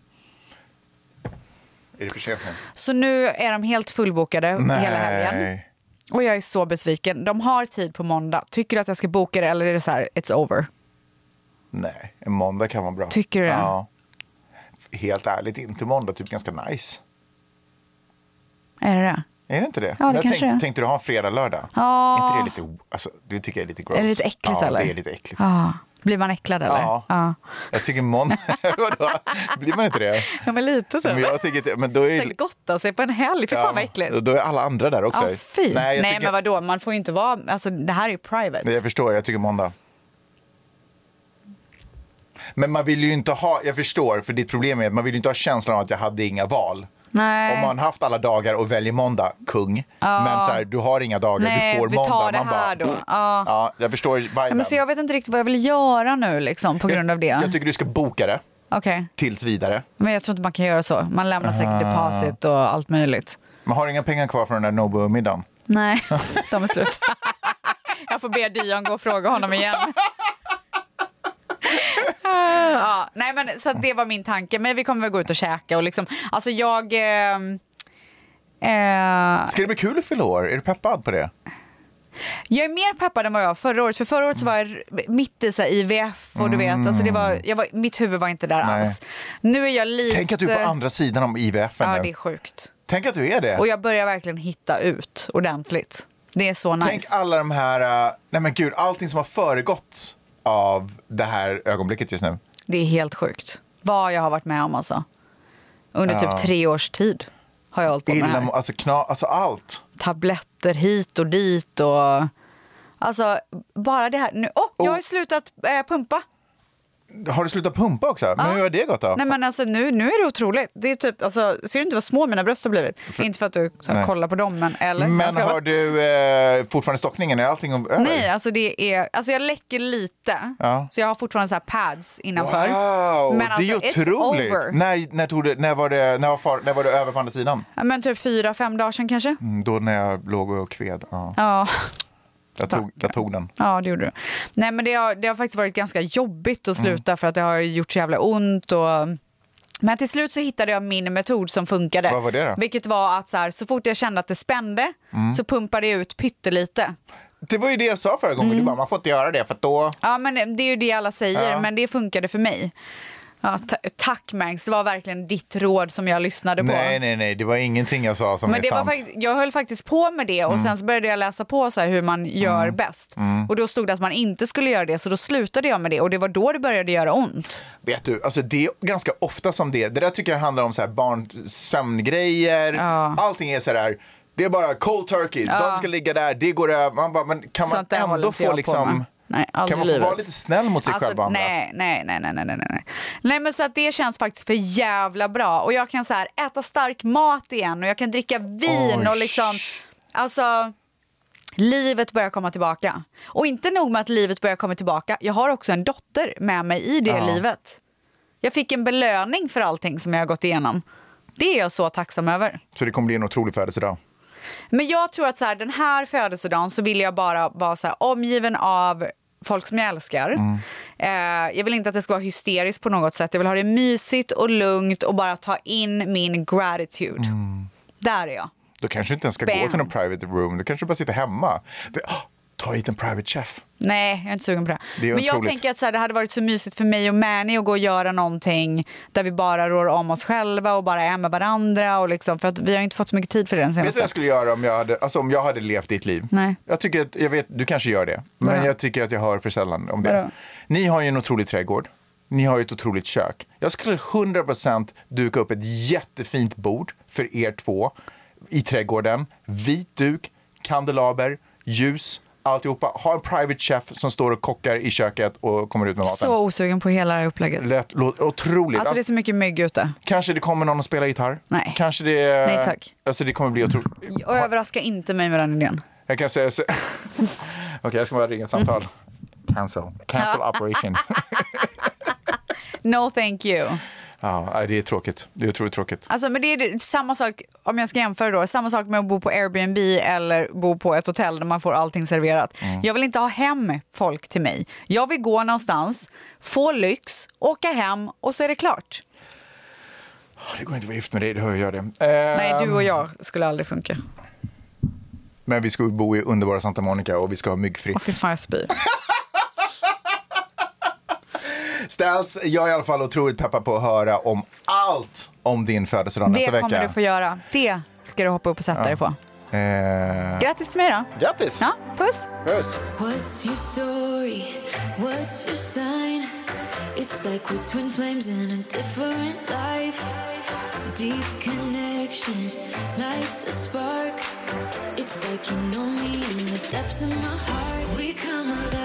[SPEAKER 4] Är det för sent nu?
[SPEAKER 5] Så nu är de helt fullbokade hela helgen.
[SPEAKER 4] Nej.
[SPEAKER 5] Och jag är så besviken. De har tid på måndag. Tycker du att jag ska boka det eller är det så här, it's over?
[SPEAKER 4] Nej, en måndag kan vara bra.
[SPEAKER 5] Tycker du det?
[SPEAKER 4] Ja. Helt ärligt, inte måndag, typ ganska nice.
[SPEAKER 5] Är det det?
[SPEAKER 4] Är det inte det?
[SPEAKER 5] Ja, det
[SPEAKER 4] Jag
[SPEAKER 5] kanske det är.
[SPEAKER 4] Tänkte du ha fredag, lördag?
[SPEAKER 5] Ja.
[SPEAKER 4] Är inte det lite, alltså, det tycker jag är lite gross.
[SPEAKER 5] Är det lite äckligt
[SPEAKER 4] ja,
[SPEAKER 5] eller?
[SPEAKER 4] det är lite äckligt.
[SPEAKER 5] Ja. Blir man äcklad eller?
[SPEAKER 4] Ja. Jag tycker måndag, vadå? Blir man inte det?
[SPEAKER 5] Ja, men lite så.
[SPEAKER 4] Men jag tycker inte, men då är
[SPEAKER 5] Så här, gotta sig på en helg, Alltså, fy fan vad äckligt.
[SPEAKER 4] Då är alla andra där också.
[SPEAKER 5] Ja, fy.
[SPEAKER 4] Nej,
[SPEAKER 5] Nej,
[SPEAKER 4] jag tycker,
[SPEAKER 5] men vadå, man får ju inte vara, alltså det här är ju private.
[SPEAKER 4] Nej, jag förstår, jag tycker måndag. Men man vill ju inte ha, jag förstår, för ditt problem är att man vill ju inte ha känslan av att jag hade inga val.
[SPEAKER 5] Nej.
[SPEAKER 4] Om man haft alla dagar och väljer måndag, kung.
[SPEAKER 5] Ja.
[SPEAKER 4] Men så här, du har inga dagar,
[SPEAKER 5] Nej,
[SPEAKER 4] du får
[SPEAKER 5] vi
[SPEAKER 4] måndag.
[SPEAKER 5] tar det
[SPEAKER 4] man
[SPEAKER 5] här
[SPEAKER 4] bara,
[SPEAKER 5] då. Ja.
[SPEAKER 4] ja, jag förstår
[SPEAKER 5] Ja,
[SPEAKER 4] viben.
[SPEAKER 5] men så jag vet inte riktigt vad jag vill göra nu liksom, på grund av det.
[SPEAKER 4] jag tycker du ska boka det
[SPEAKER 5] Okej,
[SPEAKER 4] tills vidare.
[SPEAKER 5] men jag tror inte man kan göra så. Man lämnar säkert
[SPEAKER 4] Ah.
[SPEAKER 5] deposit och allt möjligt.
[SPEAKER 4] Men har du inga pengar kvar från den där Nobu-middagen?
[SPEAKER 5] Nej, de är slut. jag får be Dion gå och fråga honom igen. Eh, ja, nej men så att det var min tanke. Men vi kommer väl gå ut och käka och liksom, alltså jag... ehm, eh,
[SPEAKER 4] Ska det bli kul att fylla år? Är du peppad på det?
[SPEAKER 5] Jag är mer peppad än vad jag var förra året. För förra året så var jag r- mitt i så här IVF och du vet, alltså det var, jag var, mitt huvud var inte där
[SPEAKER 4] Mm. Nej.
[SPEAKER 5] alls. Nu är jag lite...
[SPEAKER 4] Tänk att du är på andra sidan om IVF
[SPEAKER 5] Ja,
[SPEAKER 4] nu.
[SPEAKER 5] det är sjukt.
[SPEAKER 4] Tänk att du är det.
[SPEAKER 5] Och jag börjar verkligen hitta ut ordentligt. Det är så nice.
[SPEAKER 4] Tänk alla de här, uh, nej men gud, allting som har föregått av det här ögonblicket just nu.
[SPEAKER 5] Det är helt sjukt. Vad jag har varit med om alltså. Under
[SPEAKER 4] Ja.
[SPEAKER 5] typ tre års tid har jag hållit på med det
[SPEAKER 4] Illa,
[SPEAKER 5] här.
[SPEAKER 4] alltså, kna, alltså allt.
[SPEAKER 5] Tabletter hit och dit och... Alltså, bara det här. Nu... Åh, jag har ju slutat eh, pumpa.
[SPEAKER 4] Har du slutat pumpa också? Men hur har det gått då?
[SPEAKER 5] Nej men alltså nu, nu är det otroligt. Det är typ, alltså, ser du inte vad små mina bröst har blivit? Inte för att du så, här,
[SPEAKER 4] Nej.
[SPEAKER 5] kollar på dem men eller? Jag
[SPEAKER 4] men
[SPEAKER 5] ska-
[SPEAKER 4] har du eh, fortfarande stockningen? Är allting över?
[SPEAKER 5] Nej, alltså det är, alltså jag läcker lite.
[SPEAKER 4] Ja.
[SPEAKER 5] Så jag har fortfarande så här pads innanför.
[SPEAKER 4] Wow,
[SPEAKER 5] men
[SPEAKER 4] det är
[SPEAKER 5] alltså,
[SPEAKER 4] ju
[SPEAKER 5] It's over.
[SPEAKER 4] otroligt. När, när, tog du, när, var det, när, var far, när var det över på andra sidan?
[SPEAKER 5] Ja, Men typ fyra, fem dagar sedan kanske.
[SPEAKER 4] Mm, då när jag låg och kved. Ja.
[SPEAKER 5] Ja,
[SPEAKER 4] Jag, tog, jag tog den.
[SPEAKER 5] ja det gjorde du. Nej, men det har, det har faktiskt varit ganska jobbigt att
[SPEAKER 4] Mm.
[SPEAKER 5] sluta för att det har ju gjort så jävla ont. Och... Men till slut så hittade jag min metod som funkade.
[SPEAKER 4] Vad var det då?
[SPEAKER 5] Vilket var att så, här, så fort jag kände att det spände
[SPEAKER 4] Mm.
[SPEAKER 5] så pumpade jag ut pyttelite.
[SPEAKER 4] Det var ju det jag sa förra
[SPEAKER 5] Mm.
[SPEAKER 4] gången. Du bara, man får inte göra det för att då...
[SPEAKER 5] Ja, men det är ju det alla säger,
[SPEAKER 4] Ja.
[SPEAKER 5] men det funkade för mig. Ja, ta- tack Mangs, det var verkligen ditt råd som jag lyssnade på.
[SPEAKER 4] Nej, nej, nej. Det var ingenting jag sa som
[SPEAKER 5] men
[SPEAKER 4] är
[SPEAKER 5] det var
[SPEAKER 4] sant.
[SPEAKER 5] fakt- jag höll faktiskt på med det och
[SPEAKER 4] Mm.
[SPEAKER 5] sen så började jag läsa på så här hur man gör bäst.
[SPEAKER 4] Mm.
[SPEAKER 5] Och då stod det att man inte skulle göra det, så då slutade jag med det och det var då det började göra ont.
[SPEAKER 4] Vet du, alltså det är ganska ofta som det Det där tycker jag handlar om så här barnsömngrejer. Allting är så där. Det är bara cold turkey.
[SPEAKER 5] Ja.
[SPEAKER 4] De ska ligga där, det går över. Man bara, men kan man
[SPEAKER 5] Sånt där håller
[SPEAKER 4] ändå
[SPEAKER 5] inte
[SPEAKER 4] få
[SPEAKER 5] jag på med.
[SPEAKER 4] liksom...
[SPEAKER 5] Nej,
[SPEAKER 4] kan
[SPEAKER 5] aldrig
[SPEAKER 4] man
[SPEAKER 5] i
[SPEAKER 4] få vara
[SPEAKER 5] livet.
[SPEAKER 4] lite snäll mot sig
[SPEAKER 5] Alltså,
[SPEAKER 4] själv och andra?
[SPEAKER 5] nej, nej, nej, nej, nej, nej, nej. Nej, men så att det känns faktiskt för jävla bra. Och jag kan så här äta stark mat igen och jag kan dricka vin
[SPEAKER 8] Oj.
[SPEAKER 5] och liksom, alltså livet börjar komma tillbaka. Och inte nog med att livet börjar komma tillbaka, jag har också en dotter med mig i det
[SPEAKER 8] Ja.
[SPEAKER 5] livet. Jag fick en belöning för allting som jag har gått igenom. Det är jag så tacksam över.
[SPEAKER 4] Så det kommer bli en otrolig födelsedag.
[SPEAKER 5] Men jag tror att så här, den här födelsedagen så vill jag bara vara så här, omgiven av folk som jag älskar.
[SPEAKER 4] Mm.
[SPEAKER 5] Eh, jag vill inte att det ska vara hysteriskt på något sätt. Jag vill ha det mysigt och lugnt och bara ta in min gratitude.
[SPEAKER 4] Mm.
[SPEAKER 5] Där är jag.
[SPEAKER 4] Då kanske du inte ens ska gå
[SPEAKER 5] Bam.
[SPEAKER 4] till någon private room. Du kanske bara sitter hemma. Vi- åh, Ta hit en private chef.
[SPEAKER 5] Nej, jag är inte sugen på det.
[SPEAKER 4] Det är
[SPEAKER 5] Men jag
[SPEAKER 4] otroligt.
[SPEAKER 5] tänker att så här, det hade varit så mysigt för mig och Mani att gå och göra någonting där vi bara rår om oss själva och bara är med varandra. Och liksom, för att vi har inte fått så mycket tid för det den
[SPEAKER 4] Vet du vad
[SPEAKER 5] senaste.
[SPEAKER 4] jag skulle göra om jag hade, alltså om jag hade levt ditt liv?
[SPEAKER 5] Nej.
[SPEAKER 4] Jag tycker att, jag vet, du kanske gör det. Men
[SPEAKER 5] Vadå?
[SPEAKER 4] jag tycker att jag hör för sällan om det.
[SPEAKER 5] Vadå?
[SPEAKER 4] Ni har ju en otrolig trädgård. Ni har ju ett otroligt kök. Jag skulle 100% duka upp ett jättefint bord för er två i trädgården. Vit duk, kandelaber, ljus, alltihopa. Ha en private chef som står och kockar i köket och kommer ut med maten.
[SPEAKER 5] Så osugen på hela det här upplägget.
[SPEAKER 4] Lät, låt, otroligt.
[SPEAKER 5] Alltså det är så mycket mygg ute.
[SPEAKER 4] Kanske det kommer någon att spela gitarr. Nej. Kanske det...
[SPEAKER 5] Nej, tack.
[SPEAKER 4] Alltså det kommer bli otroligt.
[SPEAKER 5] Och överraska inte mig med den idén.
[SPEAKER 4] Jag kan säga så... Okej, jag ska bara ringa ett samtal. Cancel. Cancel operation.
[SPEAKER 5] No thank you.
[SPEAKER 4] ja, nej, det är tråkigt. Det är otroligt tråkigt.
[SPEAKER 5] Alltså, men det är det- samma sak, om jag ska jämföra då, samma sak med att bo på Airbnb eller bo på ett hotell där man får allting serverat.
[SPEAKER 8] Mm.
[SPEAKER 5] Jag vill inte ha hem folk till mig. Jag vill gå någonstans, få lyx, åka hem och så är det klart.
[SPEAKER 4] Ah, Det går inte att vara gift med dig, det hör jag det. Ehm,
[SPEAKER 5] Nej, du och jag skulle aldrig funka.
[SPEAKER 4] Men vi ska ju bo i underbara Santa Monica och vi ska ha myggfritt. Åh, fy
[SPEAKER 5] fan, jag spyr.
[SPEAKER 4] Ställs, jag är i alla fall otroligt peppad på att höra om allt om din födelsedag
[SPEAKER 5] Det
[SPEAKER 4] nästa vecka.
[SPEAKER 5] kommer du få göra. Det ska du hoppa upp och sätta dig på.
[SPEAKER 4] Eh,
[SPEAKER 5] Grattis till mig då.
[SPEAKER 4] Grattis!
[SPEAKER 5] Ja, puss!
[SPEAKER 4] Puss!
[SPEAKER 6] What's your story? What's your sign? It's like we're twin flames in a different life. Deep connection lights a spark. It's like you know me in the depths of my heart. We come alive.